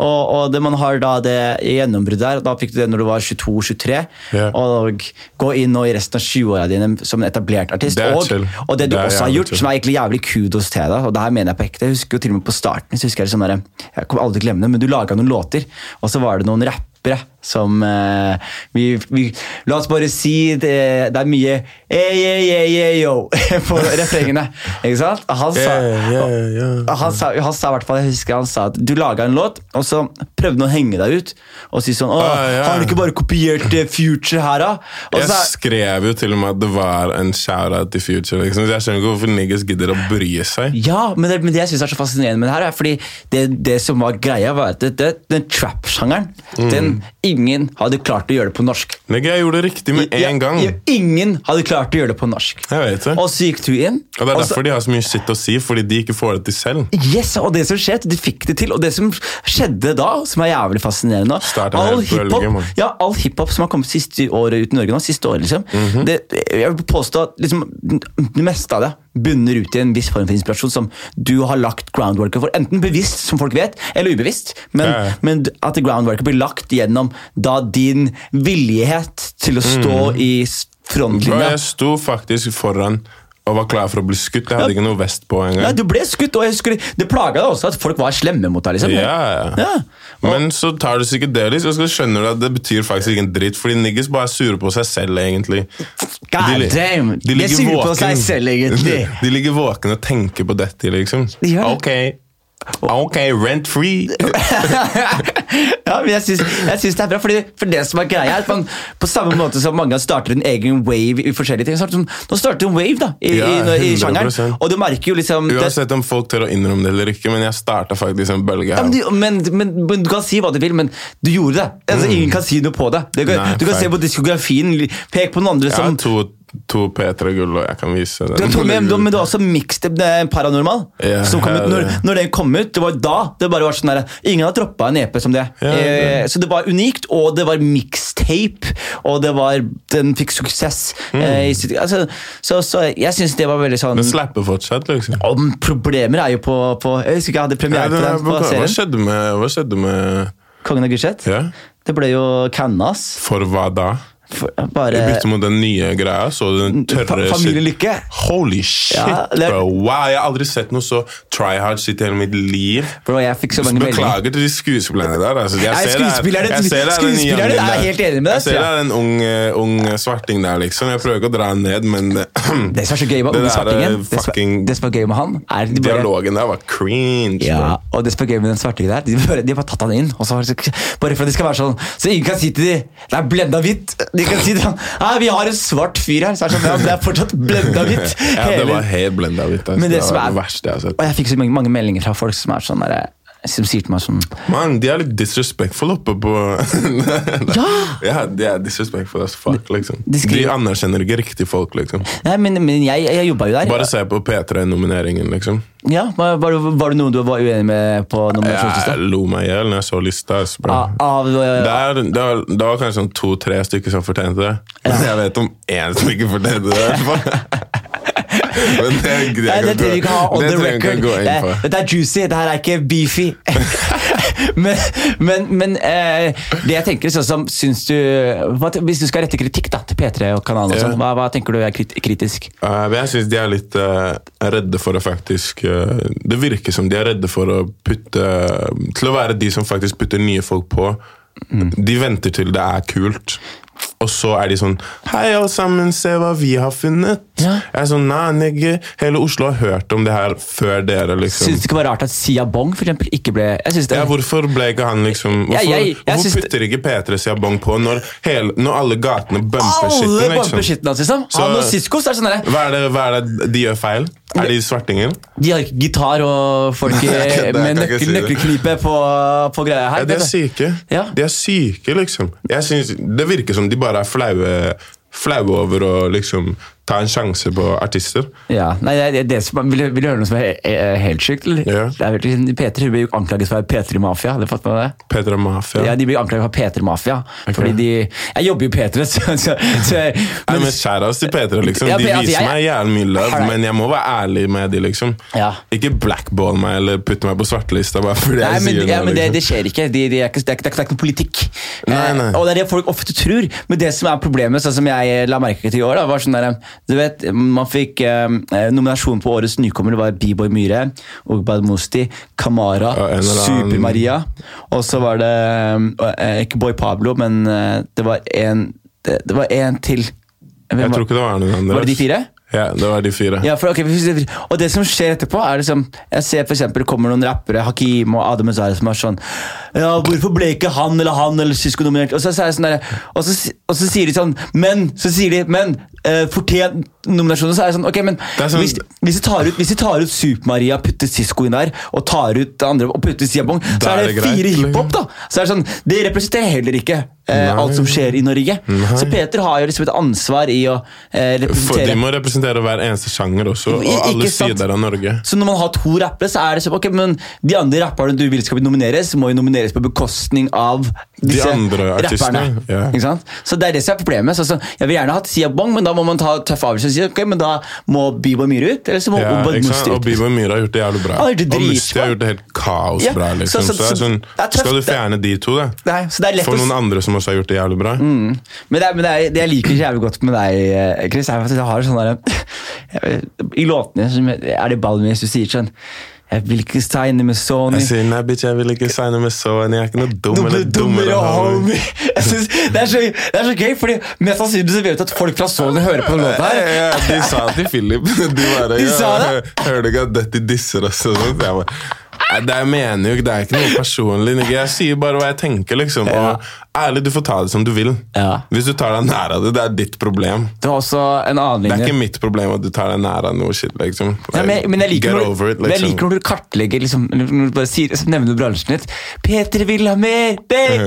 Og, og det man har da det gjennombruddet der, da fikk du det når du var 22-23. Ja. Og gå inn nå i resten av 20-åra dine som en etablert artist. Det er og, chill. og det du Det er også har jævlig gjort, chill. som er egentlig jævlig kudos til deg, og det her mener jeg på ekte Jeg husker jo til og med på starten, så husker jeg det sånn der, jeg kommer aldri til å glemme det, men du laga noen låter, og så var det noen rappere som eh, vi, vi La oss bare si det, det er mye eh, yeah, yeah, yeah, yo [LAUGHS] på refrengene. Ikke sant? Han sa, Yeah, yeah, yeah. han sa, han sa i hvert fall, jeg husker han sa at du laga en låt, og så prøvde han å henge deg ut. Og si sånn Å, Ah, ja. har du ikke bare kopiert eh, Future her, da? Og Jeg så, skrev jo til og med at det var en shout-out til Future. Liksom. Så Jeg skjønner ikke hvorfor niggas gidder å bry seg. ja, men det, men det jeg Mm. syns er så fascinerende med det her, er fordi det, det som var greia, var at det, det, den trap-sjangeren den Ingen, ingen hadde klart å gjøre det på norsk. Nigga, jeg gjorde det riktig med Ja, en gang. ja, Ingen hadde klart å gjøre det på norsk. Jeg vet det. Og så gikk du inn. Og det er og så- derfor de har så mye shit å si, fordi de ikke får det til selv. Yes, og det som skjedde, de fikk det til. Og det som skjedde da, som er jævlig fascinerende Startet All helt på hiphop bølgen, mann. ja, all hiphop som har kommet siste året ut i Norge nå, siste året liksom, Mhm. det, Jeg vil påstå at liksom, det meste av det bunner ut i en viss form for inspirasjon som du har lagt groundworket for. Enten bevisst, som folk vet, eller ubevisst. Men, Ja, ja. men at groundworket blir lagt gjennom da din villighet til å stå i s- Bro, frontlinja. Mhm. jeg sto faktisk foran og var klar for å bli skutt. Jeg hadde ikke noe vest på Nei, engang. du ble skutt, og jeg husker, det plaga deg også at folk var slemme mot deg. liksom. Ja, ja. Ja. Men så tar du psykedelisk, og så skjønner du at det betyr faktisk ikke en dritt. Fordi niggers bare er sure på seg selv, egentlig. God li- damn! De, ligger suger på våken. seg selv, [LAUGHS] egentlig. De ligger våkne og tenker på dette, liksom. De gjør Ok, ok, rent free. [LAUGHS] ja, men jeg syns, jeg syns det er bra, fordi, for det som er greia, er at man på samme måte som mange starter en egen wave i forskjellige ting, så starter, man- nå starter du en wave da, i, Ja, i, i 100%. sjangeren, og du merker jo liksom det, Uansett om folk tør å innrømme det eller ikke, men jeg starta faktisk en bølge ja, men, her. du, men, men, men du kan si hva du vil, men du gjorde det. Altså, Ingen kan si noe på det. Du kan, Mm. Nei, du kan se fair. på diskografien, pek på noen andre Jeg har som to, to P3-gull, og jeg kan vise det. Du har to med, men du har også mixtape eh, Paranormal. Ja, som kom ut, når, ja. når den kom ut, det var da det bare var sånn der, Ingen har droppa en EP som det. Ja, eh, det- så det var unikt, og det var mixtape, og det var, den fikk suksess. Mm. Eh, i sitt, altså, så, så jeg syns det var veldig sånn Den [LAUGHS] slapper fortsatt, liksom. om Problemer er jo på, på Jeg husker ikke jeg hadde Ja, premiere den på er den på på- hva serien. skjedde med, hva skjedde med Kongen av Gulset. ja? Det ble jo canna, ass. For hva da? For- I Bare bytte mot den nye greia, så du den Eh, fa- tørre shit. Familielykke. Holy shit, Ja, det er- bro. Wow, jeg har aldri sett noe så try hard shit i hele mitt liv. Bro, jeg fikk så mange meldinger. Altså, Beklager til de skuespillerne der. Altså. Jeg Nei, ser det er- skuespillerne- jeg ser det er den jævlen skuespillerne er der. helt enig med deg, Jeg ser tror det jeg. er en ung, eh, ung svarting der, liksom. Jeg prøver ikke å dra han ned, men [CLEARS THROAT] Det som er så gøy med Det Unge der er Svartingen, det som er, fucking- det som er gøy med han, er de bare dialogen der var cringe. Ja, bro. og det som er gøy med den svartingen der, de bare, de har bare tatt han inn. Og så, har de- bare for at de skal være sånn Så ingen kan si til de Det er blenda hvitt. De kan si sånn Nei, vi har en svart fyr her. Så er det sånn, ja, men det er fortsatt blenda hvitt. [LAUGHS] [LAUGHS] Ja, [LAUGHS] det var Hele- helt blenda hvitt. Altså. Men Det, det som var er- det verste jeg har sett. Og jeg fikk så mange, mange meldinger fra folk som er sånn der, Som sier til meg sånn Mann, de er litt disrespectful oppe på Ja! [LAUGHS] ja! De er disrespectful as fuck, liksom. de De skriver- anerkjenner ikke riktig folk, liksom. Nei, men, men jeg, jeg jobba jo der. Bare se på P3-nomineringen, liksom. Ja, var, var, det- var det noen du var uenig med på nominasjonslista? Jeg lo meg i hjel når jeg så lista. ass, bro. Av, av eh, Det, er, det, var, det var kanskje sånn to-tre stykker som fortjente det. Men jeg vet om én som ikke fortjente det. i hvert [LAUGHS] fall. Men det, det, Nei, det trenger vi ikke ha on det the trenger vi ikke record. gå inn Det, på. dette er juicy, dette her er ikke [LAUGHS] beefy. men men, men eh, det jeg tenker sånn som syns du hva, te- Hvis du skal rette kritikk da, til P3 og kanalen, og sånn, Ja. hva, hva tenker du er krit kritisk? Eh, men jeg syns de er litt eh, redde for å faktisk eh, Det virker som de er redde for å putte Til å være de som faktisk putter nye folk på. Mm. De venter til det er kult. Og så er de sånn Hei, alle sammen, se hva vi har funnet. Ja. Jeg er sånn, nei, nigger, Hele Oslo har hørt om det her før dere, liksom. Syns det ikke var rart at Sia Bong for eksempel, ikke ble jeg synes det, Ja, hvorfor ble ikke han liksom Hvorfor, Ja, jeg- jeg hvorfor syns det- putter ikke P3 Siabong på når, hele, når alle gatene bumper Alle skitten? bumper Liksom? skitten hans, liksom! Så- Han og Sisko så er det sånn der, Hva, er det, hva er det de gjør feil? Er de svartinger? De har ikke gitar og [LAUGHS] folk i, jeg kan med ikke nøkkel, si det. nøkkelknipe på, på greia her. Ja, de er vet du. syke. Ja. De er syke, liksom. Jeg synes, det virker som de bare er flaue, flaue over å liksom ta en sjanse på artister. Ja, nei, det, er det som, vil, du- vil du høre noe som er he- he- helt sykt? eller? Ja. Det er vel, Peter blir jo anklaget for å være P3-mafia. Har du fått med deg det? P3 Mafia. Ja, De blir anklaget for P3-mafia. Fordi de Jeg jobber jo i P3, så, så, så Nei, men- men Shoutouts til P3. liksom. Ja, De P- altså, viser jeg- meg jævlig mye love, Alright. men jeg må være ærlig med de, liksom. Ja. Ikke blackball meg eller putte meg på svartelista bare fordi Nei, jeg men, sier ja, men det, liksom. det skjer ikke. De, de er ikke det, er ikke, det er ikke noe politikk. Nei, nei. Eh, og det er det folk ofte tror. Men det som er problemet, sånn som jeg la merke til i år, da, var sånn der, eh, du vet, man fikk eh, eh, nominasjon på årets nykommer. Det var B-Boy Myhre, Ogbad Musti, Kamara, Ja, en eller annen- Super-Maria. Og så var det eh, ikke Boy Pablo, men eh, det var en det, det var en til. Hvem Jeg var- tror ikke det var noen andre. Var det de fire? Ja, det var de fire. Ja, for, ok, hvis- og det som skjer etterpå, er liksom Jeg ser for eksempel det kommer noen rappere, Hakim og Adam Ezari, som er sånn Ja, hvorfor ble ikke han eller han eller Sisko nominert? Og så, så er det sånn der, og, så, si- og så sier de sånn Men! Så sier de Men! eh, fortjent nominasjoner, så er det sånn Ok, men er sånn- hvis, hvis de tar ut, hvis de tar ut Super-Maria, putter Sisko inn der, og tar ut det andre og putter Siabong, så Da er er det det greit, fire liksom. hiphop, da! Så er det sånn, Det representerer heller ikke eh, Nei. alt som skjer i Norge. Nei. Så Peter har jo liksom et ansvar i å eh, For de representere må representere hver eneste sjanger også, I- og ikke alle sant? sider av Norge. Så når man har to rappere, så er det sånn Ok, men de andre rapperne du vil skal bli nomineres, må jo nomineres på bekostning av disse andre artistene, rapperne. ja. Ikke sant? Så det er det som er problemet. Så, så, jeg vil gjerne ha Sia Bong, men da må man ta tøffe avgjørelser. og Si, ok, men da må Bieber Myhre ut, eller så må Ja, Obad ikke sant? Musti og ut. Bieber Myhre har gjort det jævlig bra. Han har gjort det Og Musti dritbra. har gjort det helt Ja, kaosbra. så- Liksom. så- Så, det er så- sånn, det er tøft, skal du det- fjerne de to, da? Nei, så det er lett For å- Mm. noen andre som også har gjort det jævlig bra? Men, det, er, men det, er, det jeg liker jævlig godt med deg, eh, Chris, er at jeg har sånn der I låtene som er det Balmis du sier sånn Jeg vil ikke tegne med Sony. Jeg sier nei, bitch, jeg vil ikke signe med Sony. Jeg er ikke noe dum Noe ble eller dummere, dummere, homie. homie. Jeg synes, det, er så, det er så gøy, fordi mest sannsynlig så vet du at folk fra Sony hører på den låta Ja, her. ja, de sa det til Philip. [LAUGHS] De bare De sa ja, det? hø- Hører du ikke at dette disser oss? og sånt? Jeg bare, Nei, det jeg mener jo ikke, det er ikke noe personlig. Nick. Jeg sier bare hva jeg tenker, liksom. Ja. Og ærlig, du får ta det som du vil. Ja. Hvis du tar deg nær av det, det er ditt problem. Det var også en annen Det er linje. ikke mitt problem at du tar deg nær av noe shit, liksom. Ja, men, jeg- men jeg liker Get når, over it, men jeg liksom. [LAUGHS] liker når du kartlegger liksom, når du bare sier, så Nevner du bransjen ditt. 'Peter vil ha mer [LAUGHS] pay!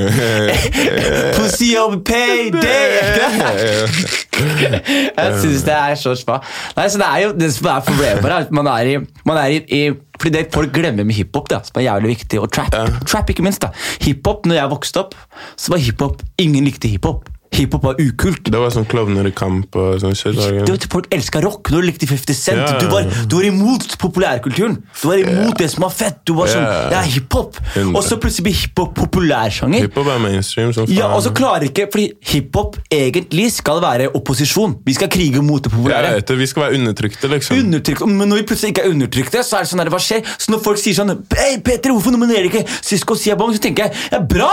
Pussy over payday!' Jeg syns det er så spa. Nei, så Det er jo det som er problemet her, er at man er i, man er i, i fordi det folk glemmer med hiphop, da, som er jævlig viktig, og trap. Trap, ikke minst. da Hiphop, når jeg vokste opp, så var hiphop Ingen likte hiphop. Hiphop var ukult. Det var sånn klovner i kamp og sånn shit. var Det det ikke? var til Folk elska rock. Når du likte 50 Cent. Ja, ja, ja. Du, var, du var imot populærkulturen. Du var imot det som var fett. Du var sånn, Ja, ja. det er hiphop. Hundre. Og så plutselig blir hiphop populærsanger. Hiphop er mainstream som faen. Ja, og så klarer ikke, fordi Hiphop egentlig skal være opposisjon. Vi skal krige mot det jeg populære. vet det, vi skal være undertrykte, liksom. undertrykt. Men når vi plutselig ikke er undertrykte, så er det sånn her, hva skjer? Så når folk sier sånn Hei, Peter, hvorfor nominerer de ikke Sisko og Siabong? Så tenker jeg ja, bra!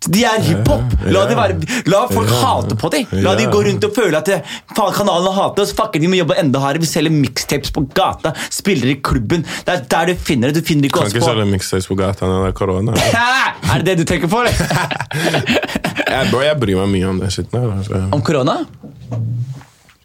De er hiphop! La, de være, la folk Ja. hate på dem! La de Ja. gå rundt og føle at det- faen, kanalen hater oss. Fucker, vi må jobbe enda hardere. Vi selger mixtapes på gata. Spiller i klubben. Det er der du finner det. Du finner ikke kan oss ikke på selge mixtapes på gata når det er korona. Hæ? Er det det du tenker på, [LAUGHS] eller? Jeg, bro, jeg bryr meg mye om den shiten her. Altså. Om korona?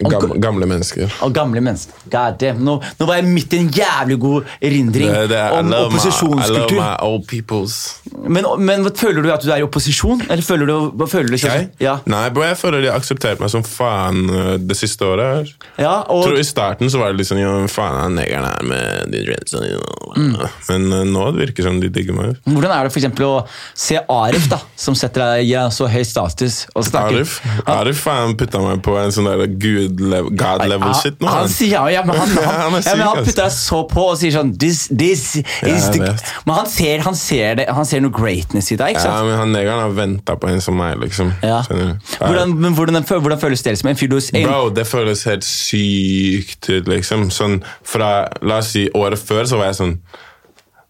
Gam, gamle mennesker. Og gamle mennesker. God damn. Nå, nå var jeg midt i en jævlig god erindring Det- det- I om love my- I opposisjonskultur. love my old peoples. Men, men hva- føler du at du er i opposisjon? Eller føler du, hva føler du Jeg? Ja. Nei, bro, jeg føler de har akseptert meg som faen øh, det siste året. her. ja, Jeg tror og I starten så var det litt sånn Ja, hvem faen er den negeren her med de dreadsene Mm. dine?» Men øh, nå virker det som de digger meg. Hvordan er det for eksempel å se Arif, da, som setter deg i en så høy status? og snakker? Arif Arif faen putta meg på en sånn der gud lev- god level shit Han, nå. altså. han han. sier ja, ja, men [LAUGHS] han, han, Han er ja, men syk, han ass. putter deg så på og sier sånn this, this is jeg the... vet. Men han ser, han, ser det, han ser noe greatness i deg, ikke Ja, sant? men han negeren har venta på en som meg, liksom. Ja. Skjønner du? Ja. Hvordan, men hvordan, den fø- hvordan føles det som en fyr du en- Bro, det føles helt sykt ut, liksom. Sånn fra La oss si året før, så var jeg sånn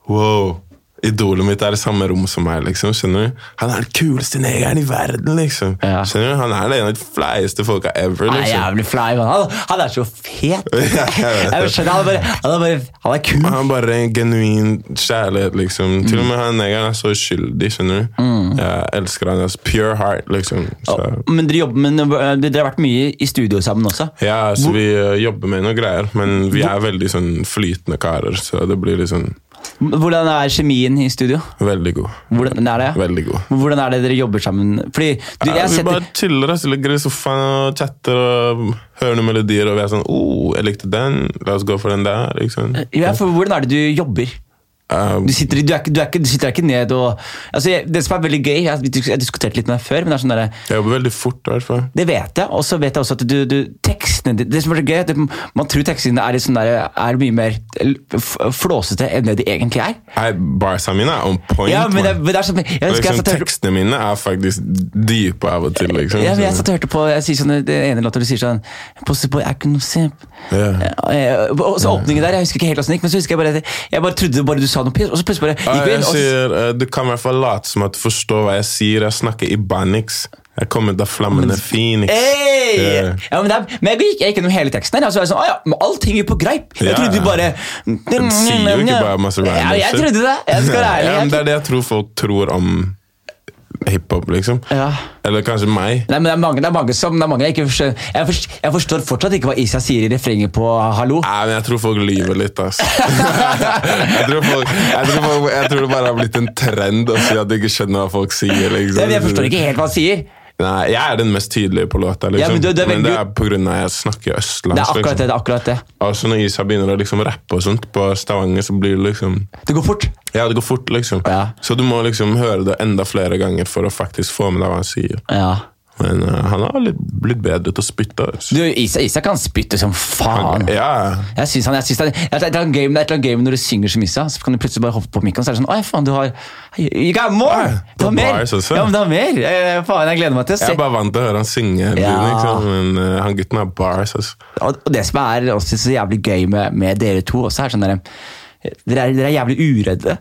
Wow. Idolet mitt er i samme rom som meg, liksom. Skjønner du? Han er den kuleste negeren i verden, liksom. Ja. Skjønner du? Han er den ene av de fleieste folka ever, Han er liksom. jævlig flau. men Han, han er så fet! [LAUGHS] Ja, jeg vet det. Jeg skjønner, han, er bare, han, er bare, han er kul. Han har bare en genuin kjærlighet, liksom. Til og med han negeren er så uskyldig, skjønner du. Mm. Jeg elsker han. Altså. Pure heart, liksom. Så. Men dere, jobber, men øh, dere har vært mye i studio sammen også? Ja, så vi øh, jobber med noen greier, men vi er veldig sånn flytende karer, så det blir liksom Hvordan er kjemien i studio? veldig god. Hvordan er det? Veldig god. Hvordan er det dere jobber sammen? Fordi du, Ja, jeg vi bare setter, chiller oss, ligger i sofaen og chatter og hører noen melodier. Og vi er sånn oh, 'Jeg likte den. La oss gå for den der.' Liksom. ja, for hvordan er det du jobber? Eh, Eh, Du sitter, du er, ikke- du er, ikke- du sitter ikke ned og altså, jeg, Det som er veldig gøy, jeg, har dis- jeg diskuterte litt med deg før, men det er sånn derre jeg jobber veldig fort, i hvert fall. det vet jeg, og så vet jeg også at du, du tekstene dine- Det som er så gøy, er at man tror tekstene dine er, litt sånn der, er mye mer f- flåsete enn det de egentlig er. Nei, Barsa mine er on point. Ja, men det, man. men det er sånn, jeg husker jeg liksom, satt og hørte tekstene mine er faktisk dype av og til. Liksom. Ja, men jeg Så- satt og hørte på jeg sier sånn, Det ene låta du sier sånn Pussy boy, I can simp Ja. Og så åpningen der, jeg husker ikke helt hvordan det gikk Men så husker jeg bare at Jeg bare trodde bare du sa noe piss Og så plutselig bare Ja, gikk vi jeg inn og så- sier, eh, Du kan i hvert fall late som at du forstår hva jeg sier. Jeg snakker ibanics. Jeg kommer ut av flammende phoenix. Hey! Ja. Ja, men, det, er- men jeg gikk, jeg gikk gjennom hele teksten her Og så var jeg sånn, «Å ja, men alt henger jo på greip Jeg Ja. trodde du bare Du sier jo ikke bare masse random Ja, jeg shit. [LAUGHS] trodde det Jeg skal være ærlig Ja, men jeg- det er det jeg tror folk tror om hiphop, liksom. Ja. Eller kanskje meg. Nei, men det er mange, det er mange som det er mange jeg, ikke forstår. Jeg, forstår, jeg forstår fortsatt ikke hva Isa sier i refrenget på 'hallo'. Nei, men jeg tror folk lyver litt, [LAUGHS] ass. jeg, tror folk, jeg, tror folk, jeg tror det bare har blitt en trend å si at du ikke skjønner hva folk sier. Liksom. Jeg, jeg forstår ikke helt hva han sier. Nei, jeg er den mest tydelige på låta, liksom. Ja, men men, du- du er veldig- det er på grunn av at jeg snakker østlandsk. Det er akkurat det. liksom. det er akkurat det. Altså, når Isa begynner å liksom rappe og sånt på Stavanger, så blir det liksom Det går fort. Ja, det går fort, liksom. Ja. Så du må liksom høre det enda flere ganger for å faktisk få med deg hva han sier. Ja. Men eh, han har litt, blitt bedre til å spytte. ass. Du, Isa, Isa kan spytte som faen. Ja, Jeg synes han, jeg synes han, jeg- det er et eller annet gøy- det er et eller annet gøy med når du synger som Isa, så kan du plutselig bare hoppe på mikken, og så er det sånn Oi, faen, du har You got Ja, more! Du har det er mer! bars også. Ja, men du har mer! Eh, Faen, jeg gleder meg til å jeg se. er bare vant til å høre han synge, hele Ja. tiden, ikke sant? men eh, han gutten har bars. ass. Og og det som er også så jævlig gøy med, med dere to, også er sånn der, eh, dere, er, dere er jævlig uredde.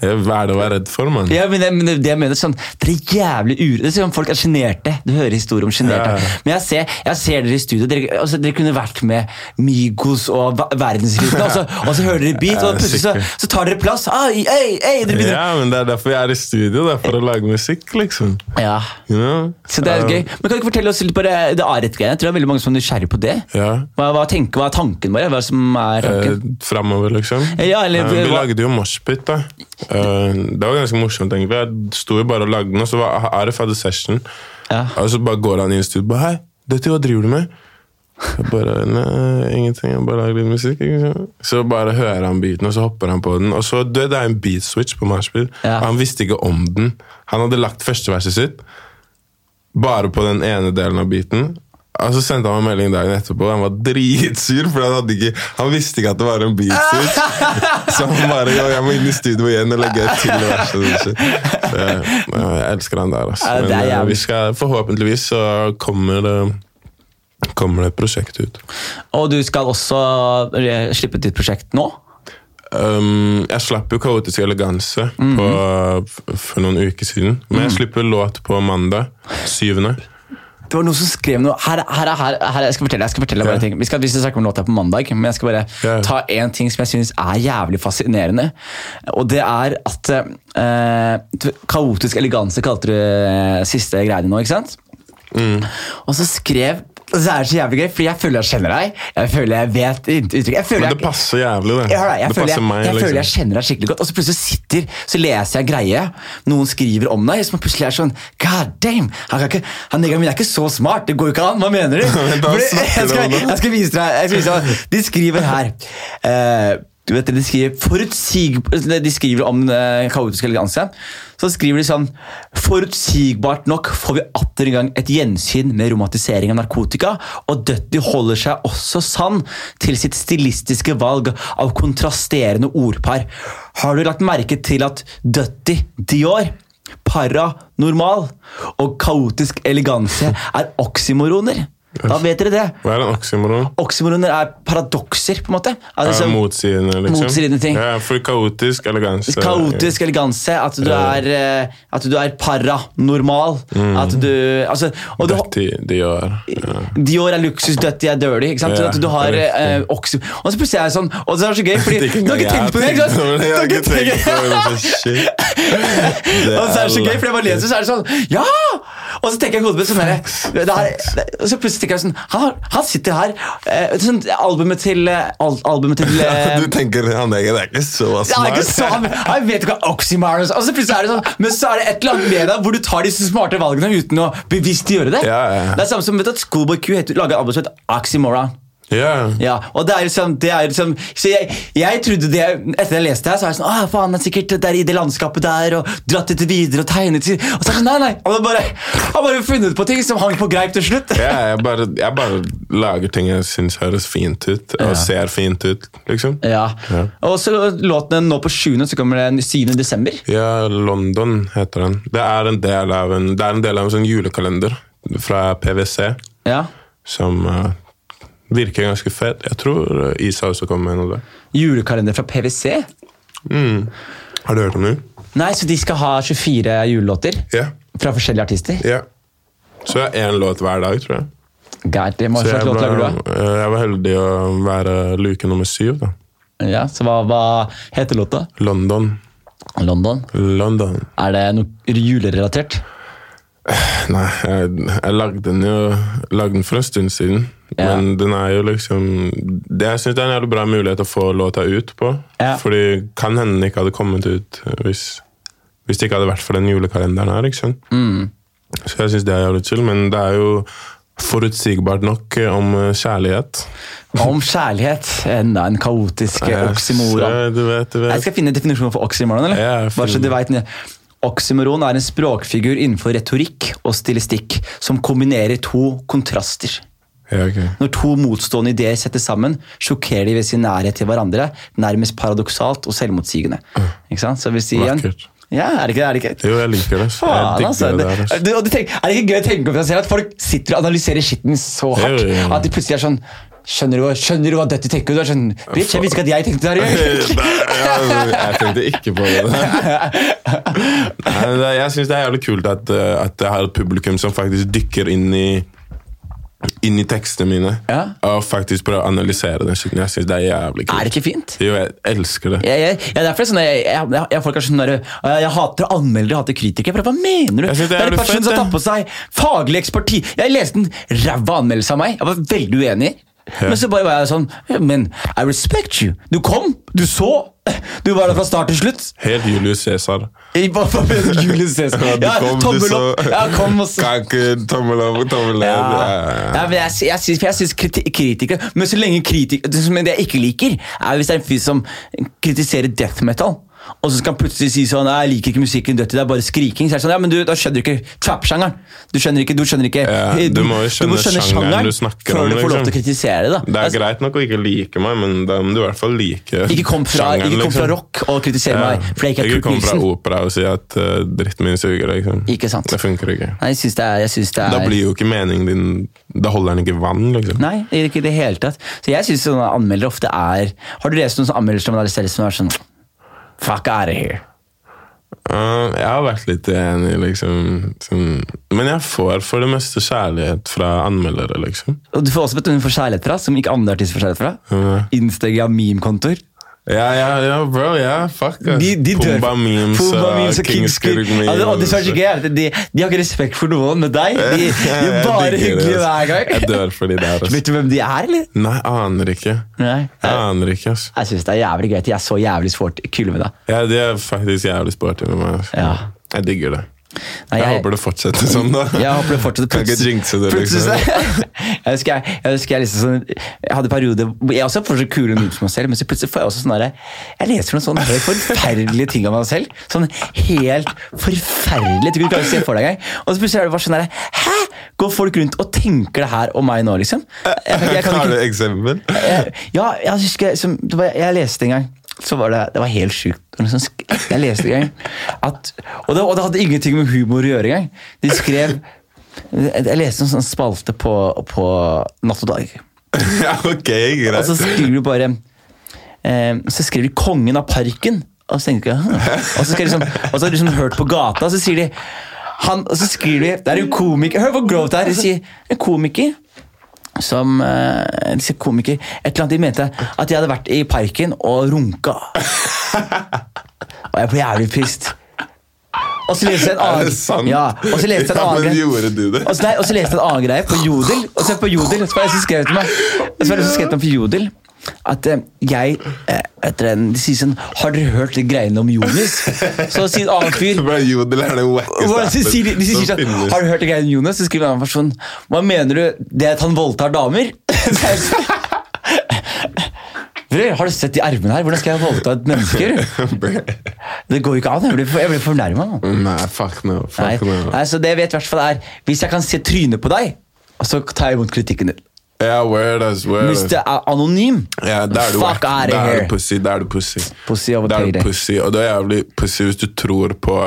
Ja, Hva er det å være redd for, mann? Ja, men det, men det, det jeg mener sånn, Dere er jævlig uredde. Det er som om folk er sjenerte. Du hører historier om sjenerte. Ja. Men jeg ser, jeg ser dere i studio. Dere, altså, dere kunne vært med Migos og va- Verdensruten, og, [LAUGHS] så- og så hører dere beat, og Ja, plutselig så, sikkert. så tar dere plass. Ah, Ai, ei, ei, dere begynner. Ja, men Det er derfor jeg er i studio, det er for å lage musikk, liksom. Ja. You know? Så det er Eh, gøy. Men Kan du ikke fortelle oss litt på det, det Aret-greiene? Jeg tror det er veldig mange som er nysgjerrig på det. Ja. Hva, hva, tenker, hva er tanken vår? Hva som er Eh, tanken? Framover, liksom. Ja, eller- Eh, vi hva- lagde jo Moshpit, da. Eh, det var ganske morsomt, egentlig. Jeg sto jo bare og lagde den, og så var Arif hadde session. Ja. Og så bare går han inn i studio og bare Hei, dette, hva driver du med? Jeg bare Nei, ingenting. Jeg bare lager litt musikk. Ikke sant? Så bare hører han beaten, og så hopper han på den. Og så det, det er en beat switch på Moshpit. Ja. Han visste ikke om den. Han hadde lagt førsteverset sitt bare på den ene delen av beaten. Og så sendte han meg en melding dagen etterpå, og han var dritsur, for han, hadde ikke, han visste ikke at det var en beat switch. [LAUGHS] Så han bare ja, 'Jeg må inn i studio igjen og legge et til vers'. og sånn shit. Så, ja, Jeg elsker han der, altså. Ja, det er Men eh, jævlig. vi skal, forhåpentligvis så kommer det, kommer det et prosjekt ut. Og du skal også eh, slippe ut ditt prosjekt nå? Um, jeg slapp jo Kaotisk eleganse Mhm. på, f- for noen uker siden, men jeg slipper låt på mandag. Syvende. Det var noen som skrev noe her, her, her, her Jeg skal fortelle jeg skal fortelle deg bare Ja. en ting. Vi skal, vi skal snakke om låta på mandag, men jeg skal bare Ja. ta én ting som jeg syns er jævlig fascinerende. Og det er at eh, t- Kaotisk eleganse kalte du eh, siste greiene nå, ikke sant? Mm. Og så skrev og så er det så jævlig gøy, fordi jeg føler jeg kjenner deg. Jeg føler jeg vet uttrykket. Jeg føler Men det jeg, passer jævlig, det. jeg, hører deg, jeg, det føler passer jeg, meg, jeg liksom. føler jeg kjenner deg skikkelig godt, og så plutselig sitter Så leser jeg en greie, noen skriver om deg, som plutselig er sånn God damn! Han, kan ikke, han Egil min er ikke så smart! Det går jo ikke an! Hva mener du? [LAUGHS] Men da Fordi- snakker jeg, du om skal, det. jeg skal vise deg jeg skal vise deg. De skriver her eh, du vet, det, De skriver forutsig, De skriver om eh, kaotisk eleganse. Så skriver de sånn Forutsigbart nok får vi atter en gang et gjensyn med romantisering av narkotika, og Dutty holder seg også sann til sitt stilistiske valg av kontrasterende ordpar. Har du lagt merke til at Dutty Dior Paranormal og kaotisk eleganse er oksymoroner. Da vet dere det. Hva er en oksymoron? Oksymoroner er paradokser, på en måte. Er sånn Det det er som motsidende, liksom. Altså, Motsidende ting. Ja, for kaotisk eleganse. kaotisk eleganse, at du eh, Ja. Mm. er, eh, at du er paranormal. At du altså, og du, Dirty Dior. Ja. Dior er luksus, Dutty er dirty. Ikke sant? Ja, Så at du har riktig. eh, oksy... Og så plutselig er jeg sånn Og det er så gøy, fordi [LAUGHS] Det er ikke du har ikke tenkt på det! engang Ikke sant? Du har ikke [LAUGHS] jeg har tenkt på det. Jeg har tenkt- ikke tenkt på det. Shit. Det [LAUGHS] Og så er det så gøy, lættis. for jeg bare leser, så er det sånn Ja! Og så tenker jeg i hodet mitt sånn her, det her det- Og så plutselig tenker jeg sånn Han, han sitter her eh, sånn, Albumet til eh, al, Albumet [LAUGHS] til eh, Du tenker han der, det er ikke så det er ikke smart. så, [LAUGHS] jeg vet ikke hva oxymorons Og så plutselig er det sånn Men så er det et eller annet med deg hvor du tar disse smarte valgene uten å bevisst gjøre det. Ja, ja, ja. Det er samme som vet du, at Schoolboy Q heter, lager et album som heter Oxymoron. Ja. Ja, og det er liksom, det er liksom Så jeg, jeg trodde det Etter jeg leste her, så er jeg sånn Å, faen, det er sikkert det der i det landskapet der, og dratt det til videre og tegnet til Og så er det sånn, nei, nei. Han har bare, han har bare funnet på ting som hang på greip til slutt. Ja, jeg, bare, jeg bare lager ting jeg syns høres fint ut, og ser fint ut, liksom. Ja. Og så låtene nå på 7., så kommer den 7. desember. Ja, London heter den. Det er en del av en, det er en, del av en sånn julekalender fra PwC Ja. som eh, virker ganske fet. Jeg tror eh, Isa også kommer med noe der. Mm. Julekalender fra PwC. Har du hørt om den? Nei, så de skal ha 24 julelåter Ja. fra forskjellige artister? ja. Så jeg har én låt hver dag, tror jeg. God, det må Så slags jeg, låt lager du ble, da? eh, jeg var heldig å være luke nummer syv, da. Ja, så hva, hva heter låta? London. London. London. Er det noe julerelatert? Nei, jeg, jeg lagde den jo lagde den for en stund siden. Ja. Men den er jo liksom det, Jeg syns det er en jævlig bra mulighet å få låta ut på. Ja. Fordi kan hende den ikke hadde kommet ut hvis, hvis det ikke hadde vært for den julekalenderen her. ikke sant? Mm. Så jeg syns det er jævlig chill, men det er jo forutsigbart nok om eh, kjærlighet. Om kjærlighet. Enda en kaotisk Jeg oxymoron. ser- Du vet, du Jeg vet. skal finne definisjonen for oxymoron. eller? Ja, jeg Bare så du vet, Oxymoron er en språkfigur innenfor retorikk og stilistikk som kombinerer to kontraster. Ja, ok. Når to motstående ideer settes sammen, sjokkerer de ved sin nærhet til hverandre, nærmest paradoksalt og selvmotsigende. Ikke sant? Så hvis de igjen... Mm. Vakkert. Ja, er det ikke, er det ikke? Jo, jeg liker det. Jeg Faen, altså. digger det [LAUGHS] der. ass. Du, og du tenker, er det ikke gøy å tenke på seg at folk sitter og analyserer skitten så hardt Jo, jo, jo. at de plutselig er sånn Skjønner du hva, skjønner du hva dette tenker? Du er sånn, Bitch, jeg visste ikke at jeg tenkte [LAUGHS] det her. [LAUGHS] Nei, altså, jeg tenkte ikke på det. Nei, men det- jeg syns det er jævlig kult at, eh, at jeg har et publikum som faktisk dykker inn i inn i tekstene mine Ja. og faktisk prøver å analysere den skitten. Jeg syns det er jævlig kult. Er det ikke fint? Jo, jeg elsker det. Jeg, jeg, jeg, derfor er det sånn, jeg, jeg, jeg, jeg, folk er sånn der, «Å, jeg hater anmeldere, jeg hater kritikere. For hva mener du? Jeg synes det er en jævlig person fett, som det. tar på seg faglig eksperti. Jeg leste en ræva anmeldelse av meg. Jeg var veldig uenig. Men så bare var jeg sånn «Ja, Men I respect you. Du kom, du så. Du var der fra start til slutt. Helt Julius Cæsar. I- hva- [LAUGHS] hva mener du, Julius Cæsar? Ja, du Ja, kom, du tommel så- opp. Ja, kom og så. Kan ikke tommel opp, tommel ned. Ja, ja, ja. Ja, men jeg, sy- jeg, syns- for jeg syns kriti- kritikere Men så lenge kritikere Det som det jeg ikke liker, er hvis det er en fyr som kritiserer death metal. Og så skal han plutselig si sånn «Nei, 'Jeg liker ikke musikken dødt, det er bare skriking'. Så er det sånn, ja, men du, Da skjønner du ikke trap-sjangeren. Du skjønner ikke, du skjønner ikke Ja, eh, du må jo skjønne sjangeren du snakker før om, du får lov liksom. til å kritisere det. da Det er Altså, greit nok å ikke like meg, men da må du i hvert fall like Ikke kom fra, sjangeren, ikke kom fra liksom. rock og kritisere meg fordi jeg ikke er Ikke Kurt kom fra Nilsen. opera og si at eh, dritten min suger. Liksom. Ikke sant. Det funker ikke. Nei, jeg syns det er, jeg synes det er Da blir jo ikke meningen din Da holder den ikke vann, liksom. Nei, det gjør ikke det hele tatt. Så jeg synes sånne anmeldere ofte er Har du lest noen sånne anmeldelser om analyserer som er sånn Fuck out of here. Eh, jeg har vært litt enig, liksom. Sånn. Men jeg får for det meste kjærlighet fra anmeldere, liksom. Og du får også vet du, hun får kjærlighet fra, som ikke andre artister får kjærlighet fra. Mhm. Instagram-meme-kontoer. Ja, ja, ja, bro. Ja, fuck. ass. De, de dør. Pumba memes Pumba memes og Kingskurk memes. Ja, det, og det som er så gøy, er at de, de har ikke respekt for noen med deg. [LAUGHS] De, de er Jeg bare digger det, altså. hyggelige ass. hver gang. Jeg dør for de der. ass. Vet du hvem de er, eller? Nei, aner ikke. Nei. Jeg aner ikke, ass. Jeg syns det er jævlig gøy at de er så jævlig sport kule med deg. Ja, det er faktisk jævlig sporty med meg. ass. Ja. Jeg digger det. Nei, jeg, jeg- håper det fortsetter sånn, da. [LAUGHS] Jeg håper det fortsetter Kan ikke plutselig- jinxe det, plutselig så- [LAUGHS] liksom. jeg husker jeg, jeg, husker jeg, liksom sånn, jeg hadde perioder hvor Jeg også får så kule memes om meg selv, men så plutselig får jeg også sånn derre Jeg leser noen sånne helt forferdelige ting om meg selv. Sånn helt forferdelige ting du klarer å se for deg engang. Og så plutselig er det bare sånn derre Hæ?! Går folk rundt og tenker det her om meg nå, liksom? Jeg, jeg, jeg kan Har du ikke et eksempel? [LAUGHS] jeg, Eh, ja, jeg husker som, det var, Jeg leste en gang så var det, det var helt sjukt. Det var noe sånn sk- Jeg leste en gang at, og, det, og det hadde ingenting med humor å gjøre engang. De skrev Jeg leste en sånn spalte på, på Natt og dag. ja, ok, Og greit. så skriver du bare eh, Så skriver de 'Kongen av parken'. Og så tenker jeg, «Hm». og så, skal jeg liksom, og så har du liksom hørt på gata, og så sier de han, Og så skriver de Det er en komiker Hør hvor grovt det er! De sier en komiker som eh, disse komiker Et eller annet de mente at jeg hadde vært i parken og runka. Og jeg ble jævlig pissed. Og så leste jeg en annen Er det sant? Ja, og så leste jeg en Ja, annen men greie. gjorde du det? Og så, nei, og så leste jeg en annen greie på Jodel. Og så på Jodel, og så var det en som skrev til meg Og så var det en som skrev til meg på Jodel at eh, jeg eh, etter en, De sier sånn Har dere hørt de greiene om Jonis? Så sier en annen fyr Bra, Jodel er den wackeste hva- så sier de, de sier som sånn, finnes. Har du hørt det greiene om Jonas? Så skriver en annen person Hva mener du? Det at han voldtar damer? [LAUGHS] Så jeg sånn, Bror, har du sett de ermene her? Hvordan skal jeg voldta et menneske? [LAUGHS] Det går jo ikke an. Jeg blir, jeg blir fornærma. Nei, fuck no. Nei. Fuck no. Nei, så det jeg vet i hvert fall er Hvis jeg kan se trynet på deg, så tar jeg imot kritikken din. Ja, word, ass, word. Hvis det er anonym, Ja, da er du fuck wack. out of Da er here. du pussy. Da er du pussy. Pussy over Da er du payday. pussy, og det er jævlig pussy hvis du tror på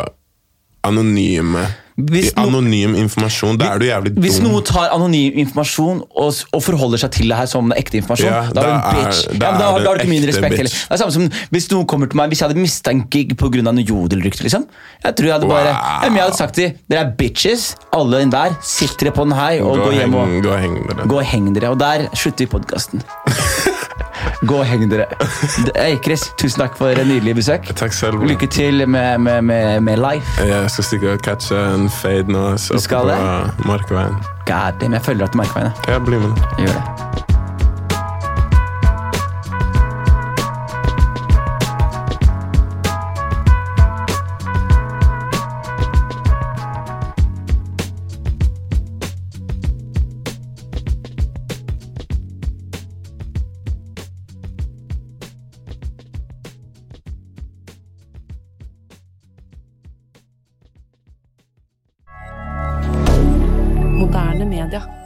anonyme Hvis no- Anonym informasjon. Da er du jævlig dum. Hvis noen tar anonym informasjon og, s- og forholder seg til det her som det er ekte informasjon, Ja, da er du en da er- bitch. da ja, men da, er har- du da har du ikke min ekte respekt bitch. heller. Det er samme som Hvis noen kommer til meg Hvis jeg hadde mista en gig pga. noe jodelrykte, liksom. Jeg tror jeg hadde bare Wow. ja, men Jeg hadde sagt til dere er bitches, alle og enhver. Sitt dere på den her og Gå gå, og hjem og heng- gå og heng med det. gå og heng dere. Og der slutter vi podkasten. Gå og heng dere. D- Hey, Chris, tusen takk for en nydelig besøk. Takk selv. Lykke til med, med, med, med life. Jeg skal stikke og catche en fade nå. Så oppe skal det? på Markveien. God damn, jeg følger deg til Markveien. jeg. Jeg blir med. Jeg gjør det. Moderne media.